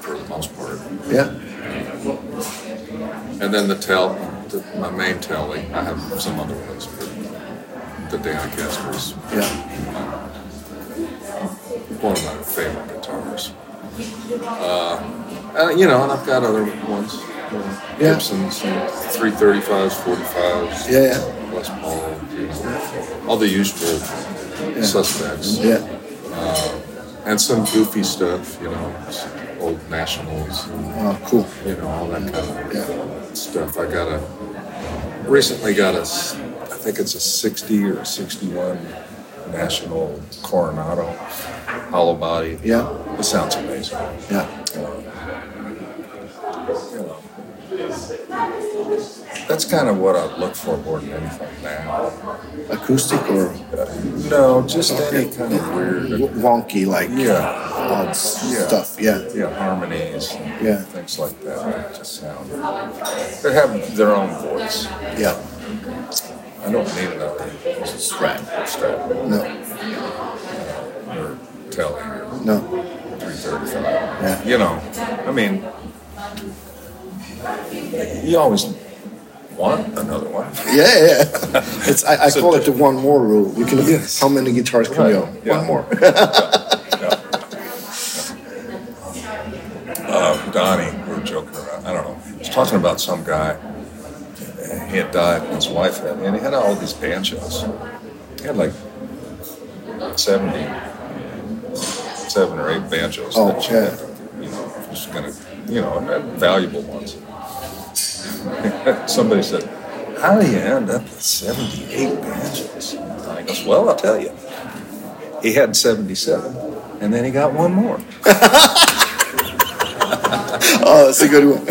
[SPEAKER 2] For the most part,
[SPEAKER 1] Yeah.
[SPEAKER 2] and then the tell, the, my main telly. I have some other ones, but the Dancaster's
[SPEAKER 1] Yeah.
[SPEAKER 2] one of my favorite guitars. Uh, and, you know, and I've got other ones. you know,
[SPEAKER 1] Yeah.
[SPEAKER 2] Gibsons, and 335s, 45s.
[SPEAKER 1] Yeah, yeah.
[SPEAKER 2] Les Paul, you know, all the usual suspects.
[SPEAKER 1] Yeah.
[SPEAKER 2] And some goofy stuff, you know, some old nationals, and,
[SPEAKER 1] Oh, cool.
[SPEAKER 2] you know, all that kind of
[SPEAKER 1] Yeah.
[SPEAKER 2] stuff. I got a, recently got a, s- I think it's a 60 or a 61 National Coronado hollow body.
[SPEAKER 1] Yeah.
[SPEAKER 2] It sounds amazing. Uh,
[SPEAKER 1] Yeah.
[SPEAKER 2] That's kind of what I look for more than anything now.
[SPEAKER 1] Acoustic or
[SPEAKER 2] No, just any kind of weird,
[SPEAKER 1] wonky, like
[SPEAKER 2] yeah,
[SPEAKER 1] odd s- stuff. Yeah.
[SPEAKER 2] yeah, harmonies, and
[SPEAKER 1] Yeah.
[SPEAKER 2] things like that. They just sound. They have their own voice.
[SPEAKER 1] Yeah.
[SPEAKER 2] I don't need another strap, strap,
[SPEAKER 1] No.
[SPEAKER 2] or telly, or
[SPEAKER 1] No.
[SPEAKER 2] three thirty-five.
[SPEAKER 1] Yeah.
[SPEAKER 2] You know, I mean, you always want another one.
[SPEAKER 1] Yeah, yeah. It's I, I
[SPEAKER 2] So
[SPEAKER 1] call
[SPEAKER 2] the-
[SPEAKER 1] it the one more rule. You can
[SPEAKER 2] Yes.
[SPEAKER 1] how many guitars can
[SPEAKER 2] Right,
[SPEAKER 1] you own?
[SPEAKER 2] yeah.
[SPEAKER 1] One more.
[SPEAKER 2] uh, Donnie, we were joking around. I don't know. He was talking about some guy. He had died, and his wife had, and he had all these banjos. He had like 70, seven or eight banjos
[SPEAKER 1] Oh,
[SPEAKER 2] that she
[SPEAKER 1] yeah.
[SPEAKER 2] had, you know, just kind of, you know, and they're valuable ones. Somebody said, How do you end up with 78 banjos? And I goes, Well, I'll tell you. He had 77, and then he got one more.
[SPEAKER 1] Oh, that's a good one.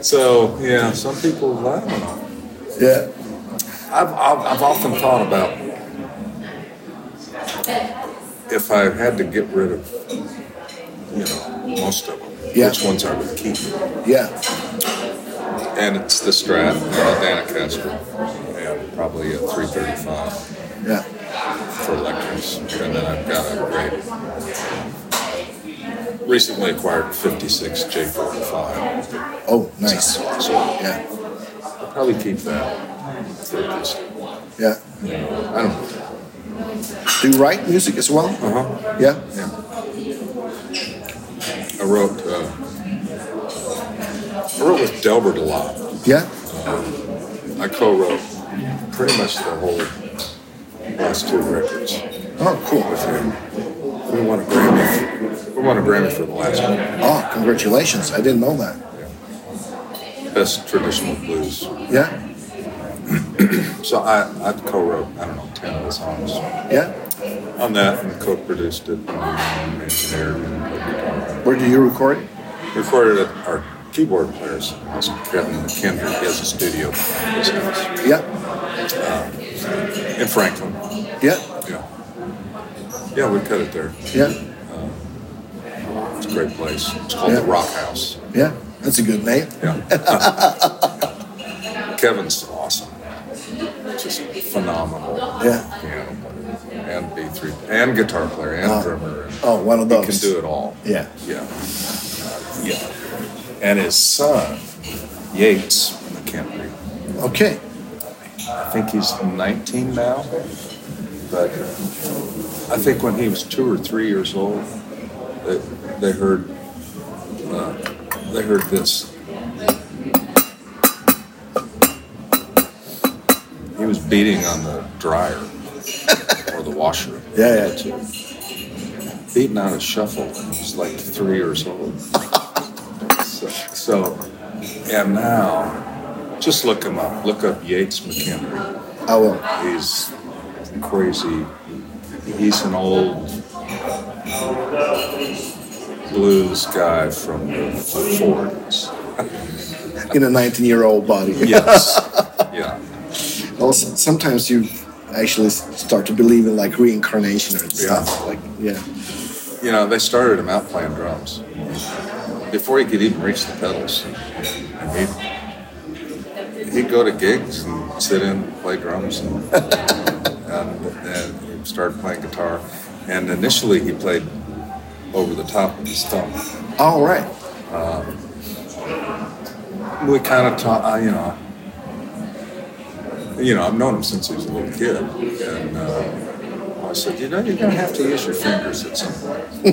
[SPEAKER 2] So yeah, some people love them.
[SPEAKER 1] Yeah.
[SPEAKER 2] I've, I've I've often thought about if I had to get rid of you know most of them,
[SPEAKER 1] Yeah.
[SPEAKER 2] which ones I would keep.
[SPEAKER 1] Yeah.
[SPEAKER 2] And it's the Strat, uh, Danacaster, and probably a 335
[SPEAKER 1] Yeah.
[SPEAKER 2] for lectures, and then I've got a great recently acquired 56 J45.
[SPEAKER 1] Oh, nice.
[SPEAKER 2] So
[SPEAKER 1] Yeah.
[SPEAKER 2] I'll probably keep that for just
[SPEAKER 1] Yeah.
[SPEAKER 2] you know, I don't know.
[SPEAKER 1] Do you write music as well?
[SPEAKER 2] Uh-huh.
[SPEAKER 1] Yeah.
[SPEAKER 2] Yeah. I wrote. Uh, I wrote with Delbert a lot.
[SPEAKER 1] Yeah.
[SPEAKER 2] I co-wrote pretty much the whole last two records
[SPEAKER 1] Oh, cool.
[SPEAKER 2] with him. We won a Grammy. We won a Grammy for the last one.
[SPEAKER 1] Oh, congratulations. I didn't know that.
[SPEAKER 2] Best traditional blues.
[SPEAKER 1] Yeah?
[SPEAKER 2] So I, I co-wrote, I don't know, 10 of the songs
[SPEAKER 1] Yeah?
[SPEAKER 2] on that and co-produced it and engineered and put guitar on it.
[SPEAKER 1] Where do you record?
[SPEAKER 2] recorded at our keyboard player's house, Kevin McKendry. He has a studio at his house
[SPEAKER 1] Yeah?
[SPEAKER 2] in Franklin.
[SPEAKER 1] Yeah?
[SPEAKER 2] Yeah. Yeah, we cut it there.
[SPEAKER 1] Yeah?
[SPEAKER 2] It's a great place. It's called the
[SPEAKER 1] Yeah.
[SPEAKER 2] Rock House.
[SPEAKER 1] Yeah? That's a good name.
[SPEAKER 2] Yeah. Kevin's awesome. Just phenomenal
[SPEAKER 1] Yeah.
[SPEAKER 2] piano player and B three and guitar player and drummer.
[SPEAKER 1] Oh, one of
[SPEAKER 2] He
[SPEAKER 1] those.
[SPEAKER 2] can do it all.
[SPEAKER 1] Yeah.
[SPEAKER 2] Yeah. Yeah. And his son, Yates McKendry,
[SPEAKER 1] Okay.
[SPEAKER 2] I think he's 19 now, but I think when he was two or three years old, they, they heard uh, they heard this. He was beating on the dryer or the washer,
[SPEAKER 1] Yeah, yeah.
[SPEAKER 2] beating on a shuffle. He was like three years old. so, so, and now, just look him up. Look up Yates McKendry.
[SPEAKER 1] I will.
[SPEAKER 2] He's crazy. He's an old blues guy from the 40s.
[SPEAKER 1] In a 19 year old body.
[SPEAKER 2] Yes. yeah.
[SPEAKER 1] Also, sometimes you actually s- start to believe in like reincarnation and
[SPEAKER 2] Yeah.
[SPEAKER 1] stuff. Like, yeah.
[SPEAKER 2] You know, they started him out playing drums before he could even reach the pedals. He'd, he'd go to gigs and sit in, and play drums, and, and, and he started playing guitar. And initially, he played over the top of his thumb.
[SPEAKER 1] All right.
[SPEAKER 2] we kind of talk, I, you know, you know, I've known him since he was a little kid, and uh, I said, you know, you're gonna have to use your fingers at some point. and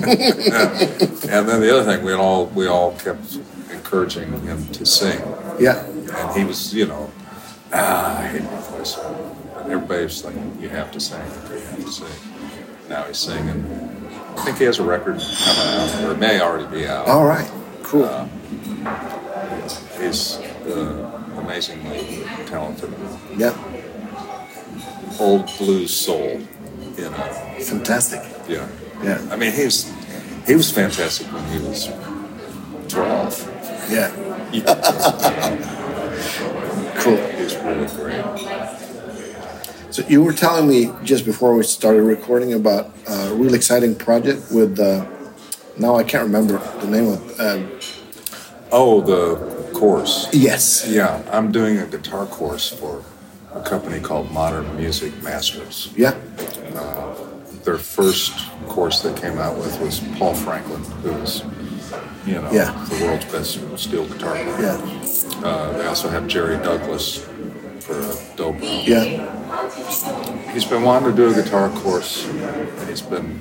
[SPEAKER 2] then the other thing, we all we all kept encouraging him to sing,
[SPEAKER 1] Yeah.
[SPEAKER 2] and he was, you know, ah, I hate my voice. And everybody was like, you have to sing, you have to sing. Now he's singing. I think he has a record coming out, or it may already be out
[SPEAKER 1] All right. Cool.
[SPEAKER 2] Uh. is uh, amazingly talented.
[SPEAKER 1] yeah.
[SPEAKER 2] Old blues soul, you know.
[SPEAKER 1] Fantastic.
[SPEAKER 2] Yeah.
[SPEAKER 1] Yeah.
[SPEAKER 2] I mean, he was he was fantastic when he was twelve.
[SPEAKER 1] Yeah.
[SPEAKER 2] You know,
[SPEAKER 1] Cool.
[SPEAKER 2] he was really great.
[SPEAKER 1] So you were telling me just before we started recording about a really exciting project with uh, now I can't remember the name of. Uh,
[SPEAKER 2] Oh, the course.
[SPEAKER 1] yes.
[SPEAKER 2] Yeah, I'm doing a guitar course for a company called Modern Music Masters.
[SPEAKER 1] Yeah.
[SPEAKER 2] Their first course they came out with was Paul Franklin, who was, you know,
[SPEAKER 1] Yeah.
[SPEAKER 2] the world's best steel guitar player.
[SPEAKER 1] Yeah.
[SPEAKER 2] Uh, they also have Jerry Douglas for a dobro.
[SPEAKER 1] Yeah.
[SPEAKER 2] He's been wanting to do a guitar course, and he's been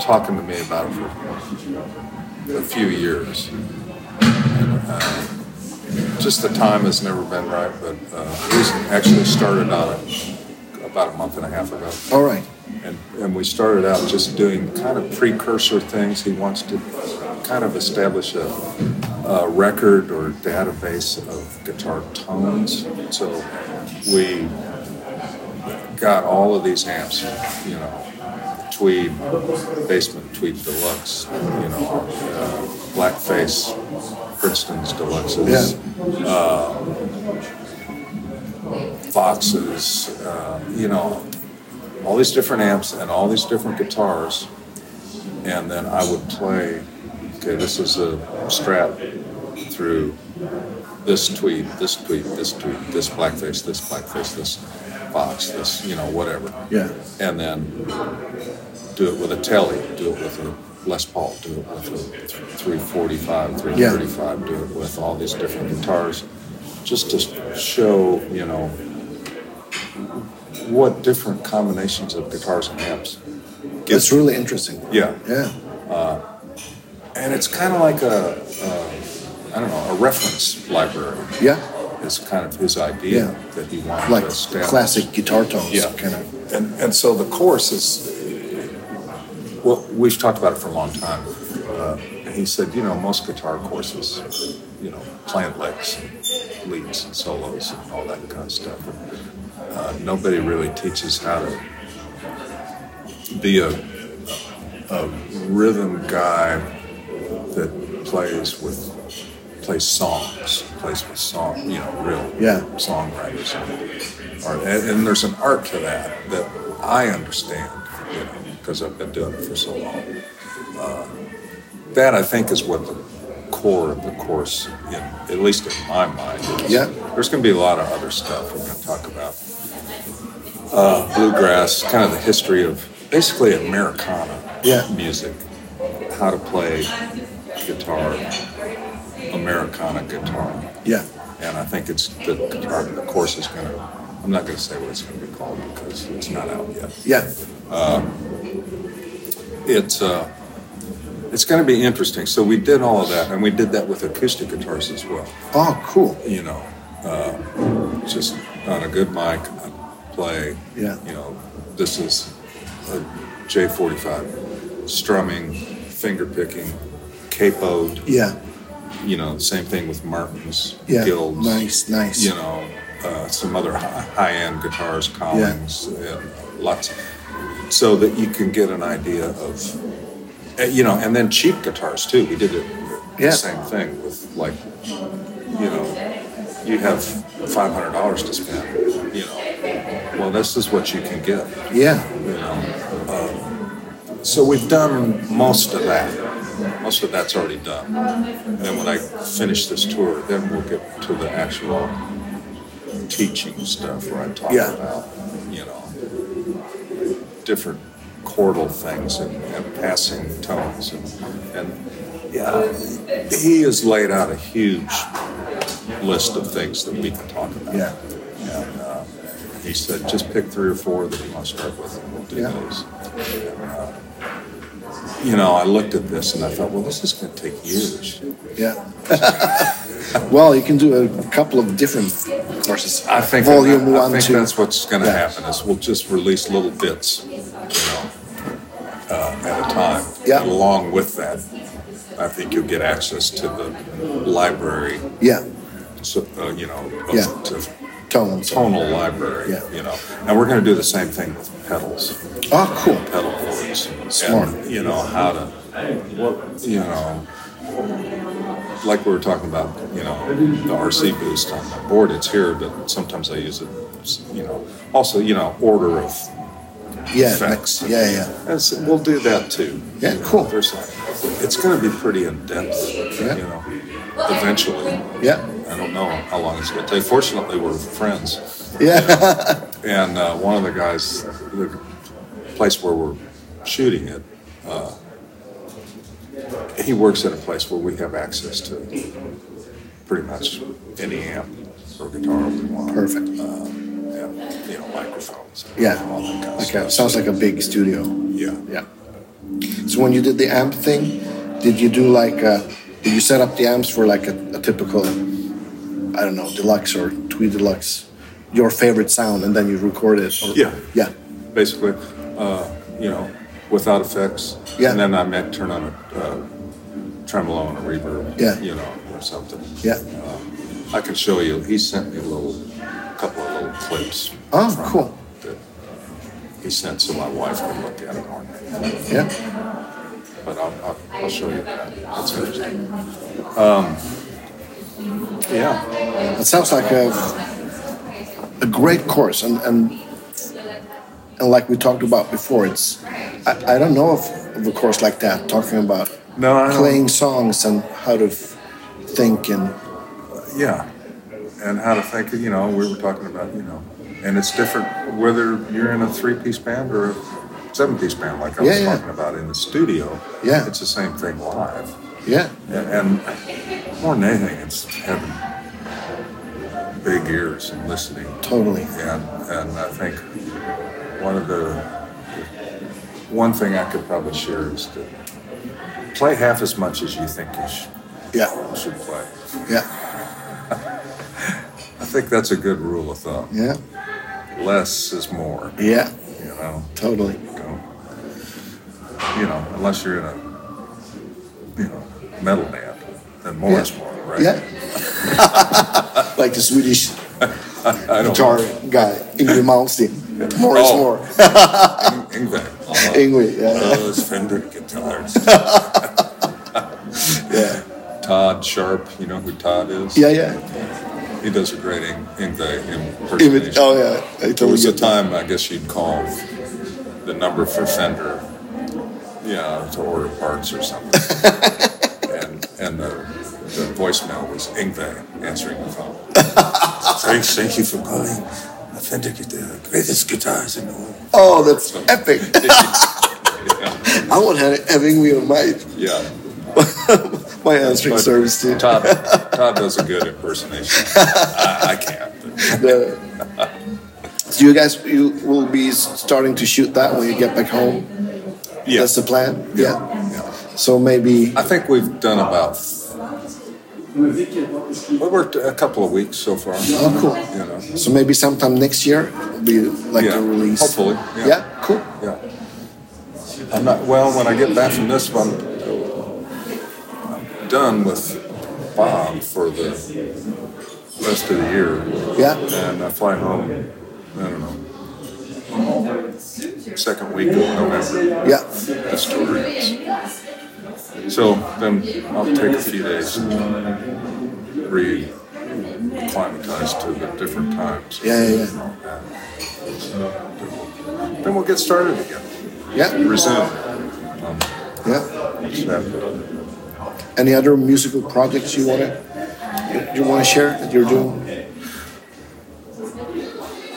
[SPEAKER 2] talking to me about it for a few years. And, uh, just the time has never been right, but uh, we actually started on it about a month and a half ago.
[SPEAKER 1] All right.
[SPEAKER 2] And, and we started out just doing kind of precursor things. He wants to kind of establish a, a record or database of guitar tones. So we got all of these amps, you know, tweed, basement tweed deluxe, you know, uh, blackface, Princeton's deluxes, uh, Foxes, uh, you know, all these different amps and all these different guitars, and then I would play. Okay, this is a strap through this tweed, this tweed, this tweed, this blackface, this blackface, this box, this you know whatever,
[SPEAKER 1] Yeah.
[SPEAKER 2] and then do it with a telly, do it with a Les Paul, do it with a 345, 335, do it with all these different guitars, just to show you know what different combinations of guitars and amps.
[SPEAKER 1] That's really interesting.
[SPEAKER 2] Yeah,
[SPEAKER 1] Yeah.
[SPEAKER 2] and it's kind of like a, uh, I don't know, a reference library.
[SPEAKER 1] Yeah.
[SPEAKER 2] is kind of his idea
[SPEAKER 1] Yeah.
[SPEAKER 2] that he wanted
[SPEAKER 1] like
[SPEAKER 2] to establish.
[SPEAKER 1] classic guitar tones,
[SPEAKER 2] Yeah.
[SPEAKER 1] kind of.
[SPEAKER 2] And, and so the chorus is, well, we've talked about it for a long time. Uh, he said, you know, most guitar courses, you know, plant licks, and leads, and solos, and all that kind of stuff. Uh, nobody really teaches how to be a, a rhythm guy that plays with plays songs, plays with song, you know, real
[SPEAKER 1] Yeah.
[SPEAKER 2] songwriters. Or, and, and there's an art to that that I understand, you know, because I've been doing it for so long. Uh, that I think is what the core of the course, in, at least in my mind, is.
[SPEAKER 1] Yeah.
[SPEAKER 2] There's going to be a lot of other stuff we're going to talk about. Uh, bluegrass, kind of the history of basically Americana
[SPEAKER 1] Yeah.
[SPEAKER 2] music, how to play guitar, Americana guitar.
[SPEAKER 1] Yeah,
[SPEAKER 2] And I think it's the guitar, the course is going to, I'm not going to say what it's going to be called because it's not out yet.
[SPEAKER 1] yeah,
[SPEAKER 2] It's, uh, it's going to be interesting. So we did all of that and we did that with acoustic guitars as well.
[SPEAKER 1] oh, cool,
[SPEAKER 2] you know, uh, just on a good mic, I play.
[SPEAKER 1] Yeah.
[SPEAKER 2] You know, this is a J45 strumming, finger picking, capoed.
[SPEAKER 1] yeah,
[SPEAKER 2] You know, same thing with Martins,
[SPEAKER 1] yeah,
[SPEAKER 2] Guilds.
[SPEAKER 1] nice, nice,
[SPEAKER 2] You know, uh, some other high end guitars, Collins, and lots of. So that you can get an idea of, uh, you know, and then cheap guitars too. We did it,
[SPEAKER 1] Yeah.
[SPEAKER 2] the same thing with like, you know, you have five hundred dollars to spend. You know, well, this is what you can get.
[SPEAKER 1] yeah,
[SPEAKER 2] You know, uh, so we've done most of that. Most of that's already done. And then when I finish this tour, then we'll get to the actual teaching stuff where I talk
[SPEAKER 1] Yeah.
[SPEAKER 2] about, you know, different chordal things and, and passing tones and, and yeah, he has laid out a huge list of things that we can talk about.
[SPEAKER 1] Yeah.
[SPEAKER 2] And uh, he said, just pick three or four that you want to start with, and we'll do
[SPEAKER 1] Yeah.
[SPEAKER 2] those. And, uh, you know, I looked at this and I thought, well, this is going to take years.
[SPEAKER 1] yeah. well, you can do a couple of different courses.
[SPEAKER 2] I think
[SPEAKER 1] volume
[SPEAKER 2] I,
[SPEAKER 1] one,
[SPEAKER 2] think
[SPEAKER 1] two.
[SPEAKER 2] that's what's going to
[SPEAKER 1] Yeah.
[SPEAKER 2] happen is we'll just release little bits, you know, uh, at a time.
[SPEAKER 1] Yeah.
[SPEAKER 2] And along with that, I think you'll get access to the library,
[SPEAKER 1] yeah,
[SPEAKER 2] so, uh, you know, of,
[SPEAKER 1] Yeah.
[SPEAKER 2] to
[SPEAKER 1] tones.
[SPEAKER 2] tonal library,
[SPEAKER 1] Yeah.
[SPEAKER 2] you know. And we're going to do the same thing with pedals,
[SPEAKER 1] Oh, cool.
[SPEAKER 2] pedal boards,
[SPEAKER 1] Smart.
[SPEAKER 2] and you know how to, what you know. Like we were talking about, you know, the RC boost on my board, it's here, but sometimes I use it, you know. Also, you know, order of
[SPEAKER 1] Yeah,
[SPEAKER 2] effects.
[SPEAKER 1] like- yeah, yeah.
[SPEAKER 2] And so we'll do that too.
[SPEAKER 1] Yeah,
[SPEAKER 2] You know,
[SPEAKER 1] cool.
[SPEAKER 2] There's, it's going to be pretty in depth,
[SPEAKER 1] Yeah.
[SPEAKER 2] you know, eventually.
[SPEAKER 1] Yeah,
[SPEAKER 2] I don't know how long it's going to take. Fortunately, we're friends.
[SPEAKER 1] yeah,
[SPEAKER 2] And uh, one of the guys, the place where we're shooting it, uh, he works at a place where we have access to pretty much any amp or guitar we want.
[SPEAKER 1] Perfect.
[SPEAKER 2] Uh, and, you know, microphones. and
[SPEAKER 1] yeah.
[SPEAKER 2] All that kind of
[SPEAKER 1] Okay,
[SPEAKER 2] stuff.
[SPEAKER 1] sounds like a big studio.
[SPEAKER 2] Yeah.
[SPEAKER 1] Yeah. So when you did the amp thing, did you do like a, did you set up the amps for like a, a typical, I don't know, deluxe or tweed deluxe, your favorite sound, and then you record it? Or,
[SPEAKER 2] Yeah.
[SPEAKER 1] Yeah.
[SPEAKER 2] basically, uh, you know, without effects.
[SPEAKER 1] Yeah.
[SPEAKER 2] And then I might turn on a uh, tremolo and a reverb.
[SPEAKER 1] Yeah.
[SPEAKER 2] You know, or something.
[SPEAKER 1] Yeah.
[SPEAKER 2] I can show you. He sent me a little, couple of little clips.
[SPEAKER 1] Oh,
[SPEAKER 2] from
[SPEAKER 1] cool.
[SPEAKER 2] it That he sent so my wife could look at it on it.
[SPEAKER 1] Yeah.
[SPEAKER 2] But I'll, I'll, I'll show you. That's interesting. Um, yeah.
[SPEAKER 1] It sounds like a, a great course, and, and and like we talked about before, it's I, I don't know of, of a course like that talking about
[SPEAKER 2] No, I don't-
[SPEAKER 1] playing songs and how to f- think and
[SPEAKER 2] Yeah. And how to think, you know, we were talking about, you know, and it's different whether you're in a three piece band or a seven piece band, like I was
[SPEAKER 1] Yeah, yeah.
[SPEAKER 2] talking about in the studio.
[SPEAKER 1] Yeah.
[SPEAKER 2] It's the same thing live.
[SPEAKER 1] yeah,
[SPEAKER 2] And, and more than anything, it's having big ears and listening.
[SPEAKER 1] totally.
[SPEAKER 2] And, and I think one of the, one thing I could probably share is to play half as much as you think you sh-
[SPEAKER 1] Yeah,
[SPEAKER 2] should play.
[SPEAKER 1] yeah,
[SPEAKER 2] think that's a good rule of thumb.
[SPEAKER 1] Yeah.
[SPEAKER 2] Less is more.
[SPEAKER 1] Yeah.
[SPEAKER 2] You know.
[SPEAKER 1] Totally.
[SPEAKER 2] Don't- You know, unless you're in a you know metal band, then more is more, right?
[SPEAKER 1] Yeah. like the Swedish
[SPEAKER 2] I don't.
[SPEAKER 1] guitar guy, Yngwie Malmsteen. More is
[SPEAKER 2] Oh.
[SPEAKER 1] more.
[SPEAKER 2] Ingvar.
[SPEAKER 1] Yngwie, yeah.
[SPEAKER 2] Uh, Those Fender guitars.
[SPEAKER 1] Yeah.
[SPEAKER 2] Todd Sharp, you know who Todd is?
[SPEAKER 1] Yeah, yeah.
[SPEAKER 2] He does a great Ing- Ingve
[SPEAKER 1] Even- oh, yeah. I
[SPEAKER 2] There
[SPEAKER 1] totally
[SPEAKER 2] was a
[SPEAKER 1] get that.
[SPEAKER 2] time, I guess you'd call the number for Fender, yeah, to order parts or something. and and the, the voicemail was Ingve answering the phone. thank, thank you for calling. I think the greatest guitars in the world.
[SPEAKER 1] Oh, that's epic. I want to have Yngwie on my,
[SPEAKER 2] Yeah.
[SPEAKER 1] my answering
[SPEAKER 2] But
[SPEAKER 1] service too.
[SPEAKER 2] Todd, Todd does a good impersonation. I, I can't. but-
[SPEAKER 1] The- so you guys, you will be s- starting to shoot that when you get back home.
[SPEAKER 2] Yeah.
[SPEAKER 1] That's the plan. Yeah.
[SPEAKER 2] yeah.
[SPEAKER 1] So maybe.
[SPEAKER 2] I think we've done about. We worked a couple of weeks so far.
[SPEAKER 1] Oh, cool.
[SPEAKER 2] You know,
[SPEAKER 1] So maybe sometime next year will be like
[SPEAKER 2] yeah.
[SPEAKER 1] a release.
[SPEAKER 2] Hopefully,
[SPEAKER 1] Yeah.
[SPEAKER 2] yeah.
[SPEAKER 1] Cool.
[SPEAKER 2] Yeah. I'm not well. When I get back from this, if I'm, I'm done with Bob for the rest of the year,
[SPEAKER 1] Yeah.
[SPEAKER 2] and I fly home. I don't know. Second week of November.
[SPEAKER 1] Yeah.
[SPEAKER 2] That's where it is. So then I'll take a few days to re acclimatize to the different times.
[SPEAKER 1] Yeah, yeah, yeah.
[SPEAKER 2] Then we'll get started again.
[SPEAKER 1] Yeah.
[SPEAKER 2] Resume.
[SPEAKER 1] Yeah.
[SPEAKER 2] That-
[SPEAKER 1] Any other musical projects you wanna you, you wanna share that you're doing?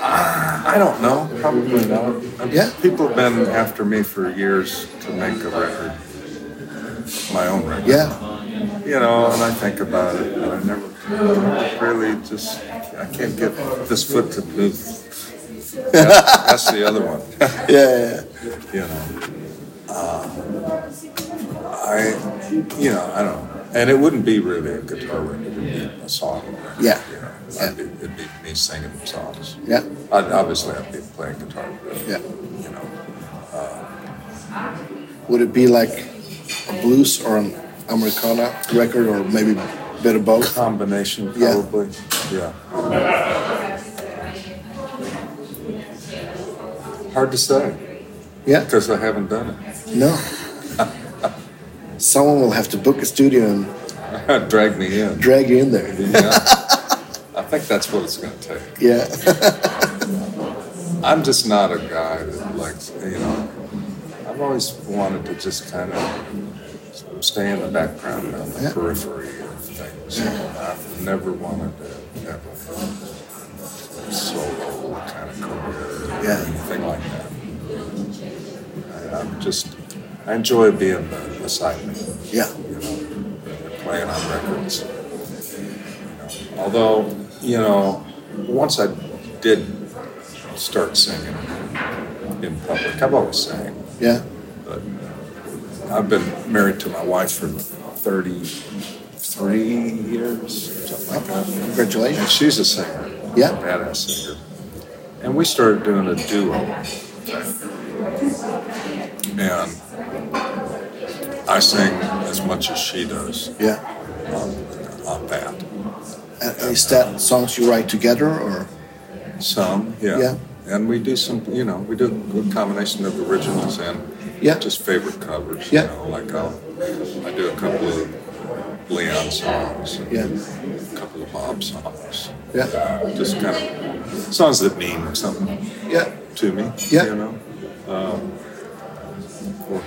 [SPEAKER 2] I don't know. Probably not. I'm-
[SPEAKER 1] Yeah.
[SPEAKER 2] People have been after me for years to make a record, my own record.
[SPEAKER 1] Yeah.
[SPEAKER 2] You know, and I think about it, but I never really just, I can't get this foot to move. Yeah, that's the other one.
[SPEAKER 1] Yeah. yeah,
[SPEAKER 2] you know. Uh, I, you know, I don't know. And it wouldn't be really a guitar record, it would be a song. record,
[SPEAKER 1] Yeah.
[SPEAKER 2] You know, I'd be, it'd be me singing songs.
[SPEAKER 1] Yeah.
[SPEAKER 2] I'd, obviously, I'd be playing guitar. But,
[SPEAKER 1] Yeah.
[SPEAKER 2] You know,
[SPEAKER 1] Would it be like a blues or an Americana record or maybe a bit of both?
[SPEAKER 2] combination
[SPEAKER 1] Yeah.
[SPEAKER 2] probably. Yeah. Hard to say
[SPEAKER 1] Yeah.
[SPEAKER 2] because I haven't done
[SPEAKER 1] No. Someone will have to book a studio and
[SPEAKER 2] it. Drag me in.
[SPEAKER 1] drag you in there.
[SPEAKER 2] Yeah. I think that's what it's going to take.
[SPEAKER 1] Yeah.
[SPEAKER 2] I'm just not a guy that likes, you know, I've always wanted to just kind of stay in the background on the
[SPEAKER 1] Yeah.
[SPEAKER 2] periphery of things. I've never wanted to have a solo kind of career or
[SPEAKER 1] Yeah.
[SPEAKER 2] anything like that. I, I'm just, I enjoy being the, the sideman
[SPEAKER 1] Yeah.
[SPEAKER 2] you know, playing on records. Although, you know, once I did start singing in public, I've always sang.
[SPEAKER 1] Yeah.
[SPEAKER 2] I've been married to my wife for 33 years, something like that. And
[SPEAKER 1] Congratulations.
[SPEAKER 2] she's a singer.
[SPEAKER 1] Yeah.
[SPEAKER 2] A badass singer. And we started doing a duo. And I sing as much as she does
[SPEAKER 1] Yeah.
[SPEAKER 2] on, on that.
[SPEAKER 1] And is that songs you write together or?
[SPEAKER 2] Some, yeah.
[SPEAKER 1] Yeah.
[SPEAKER 2] And we do some, you know, we do a combination of originals and
[SPEAKER 1] Yeah.
[SPEAKER 2] just favorite covers.
[SPEAKER 1] Yeah.
[SPEAKER 2] You know, like I'll, I do a couple of Leon songs. and
[SPEAKER 1] Yeah.
[SPEAKER 2] A couple of Bob songs.
[SPEAKER 1] Yeah.
[SPEAKER 2] Just kind of songs that mean something
[SPEAKER 1] Yeah.
[SPEAKER 2] to me.
[SPEAKER 1] Yeah.
[SPEAKER 2] You know? Um, or-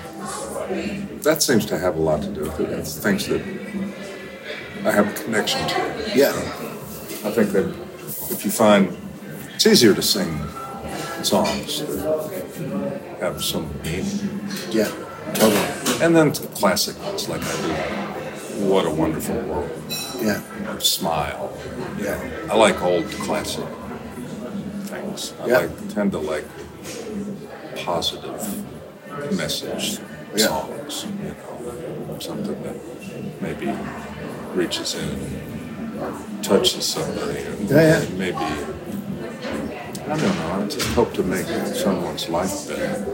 [SPEAKER 2] that seems to have a lot to do with it. It's things that I have a connection to.
[SPEAKER 1] Yeah.
[SPEAKER 2] I think that if you find it's easier to sing songs that have some meaning,
[SPEAKER 1] Yeah. Totally.
[SPEAKER 2] and then classic ones like I do. What a wonderful world!
[SPEAKER 1] Yeah.
[SPEAKER 2] Or smile. Yeah, I like old classic things. I
[SPEAKER 1] Yeah.
[SPEAKER 2] like tend to like positive message
[SPEAKER 1] Yeah.
[SPEAKER 2] songs. You know, something that maybe reaches in
[SPEAKER 3] touches somebody. and
[SPEAKER 1] Yeah, yeah.
[SPEAKER 3] Maybe, I don't know, I just hope to make someone's life better.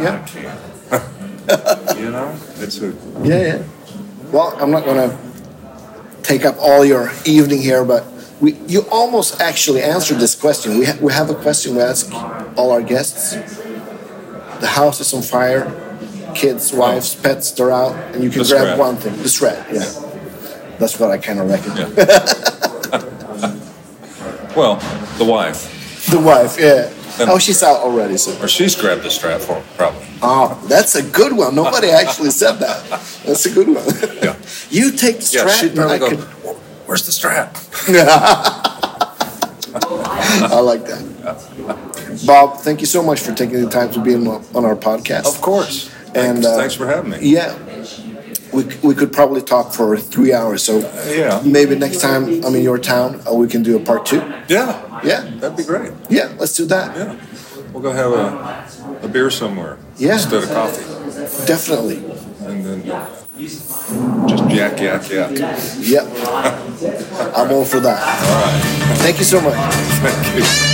[SPEAKER 1] Yeah.
[SPEAKER 3] You know, it's a,
[SPEAKER 1] Yeah, yeah. Well, I'm not gonna take up all your evening here, but we you almost actually answered this question. We ha- we have a question we ask all our guests. The house is on fire. Kids, wives, pets, they're out, and you can
[SPEAKER 2] The
[SPEAKER 1] grab
[SPEAKER 2] scrap.
[SPEAKER 1] one thing. The shred, yeah. That's what I kind of reckon.
[SPEAKER 2] Well, the wife.
[SPEAKER 1] The wife, yeah. Oh, she's out already, so.
[SPEAKER 2] Or she's grabbed the strap for him, probably.
[SPEAKER 1] Oh, that's a good one. Nobody actually said that. That's a good one.
[SPEAKER 2] Yeah.
[SPEAKER 1] You take the strap,
[SPEAKER 2] Yeah, she'd
[SPEAKER 1] and I
[SPEAKER 2] probably go,
[SPEAKER 1] could-
[SPEAKER 2] Where's the strap?
[SPEAKER 1] I like that. Bob, thank you so much for taking the time to be on on our podcast.
[SPEAKER 2] Of course.
[SPEAKER 1] And,
[SPEAKER 2] thanks,
[SPEAKER 1] uh,
[SPEAKER 2] thanks for having me.
[SPEAKER 1] Yeah. We, c- we could probably talk for three hours, so
[SPEAKER 2] yeah.
[SPEAKER 1] maybe next time I'm in your town, uh, we can do a part two.
[SPEAKER 2] Yeah.
[SPEAKER 1] Yeah,
[SPEAKER 2] That'd be great.
[SPEAKER 1] yeah, let's do that.
[SPEAKER 2] Yeah. We'll go have a, a beer somewhere.
[SPEAKER 1] Yeah.
[SPEAKER 2] Instead of coffee.
[SPEAKER 1] Definitely.
[SPEAKER 2] And then just yak, yak, yak.
[SPEAKER 1] Yeah. I'm all for that.
[SPEAKER 2] All right.
[SPEAKER 1] Thank you so much.
[SPEAKER 2] Thank you.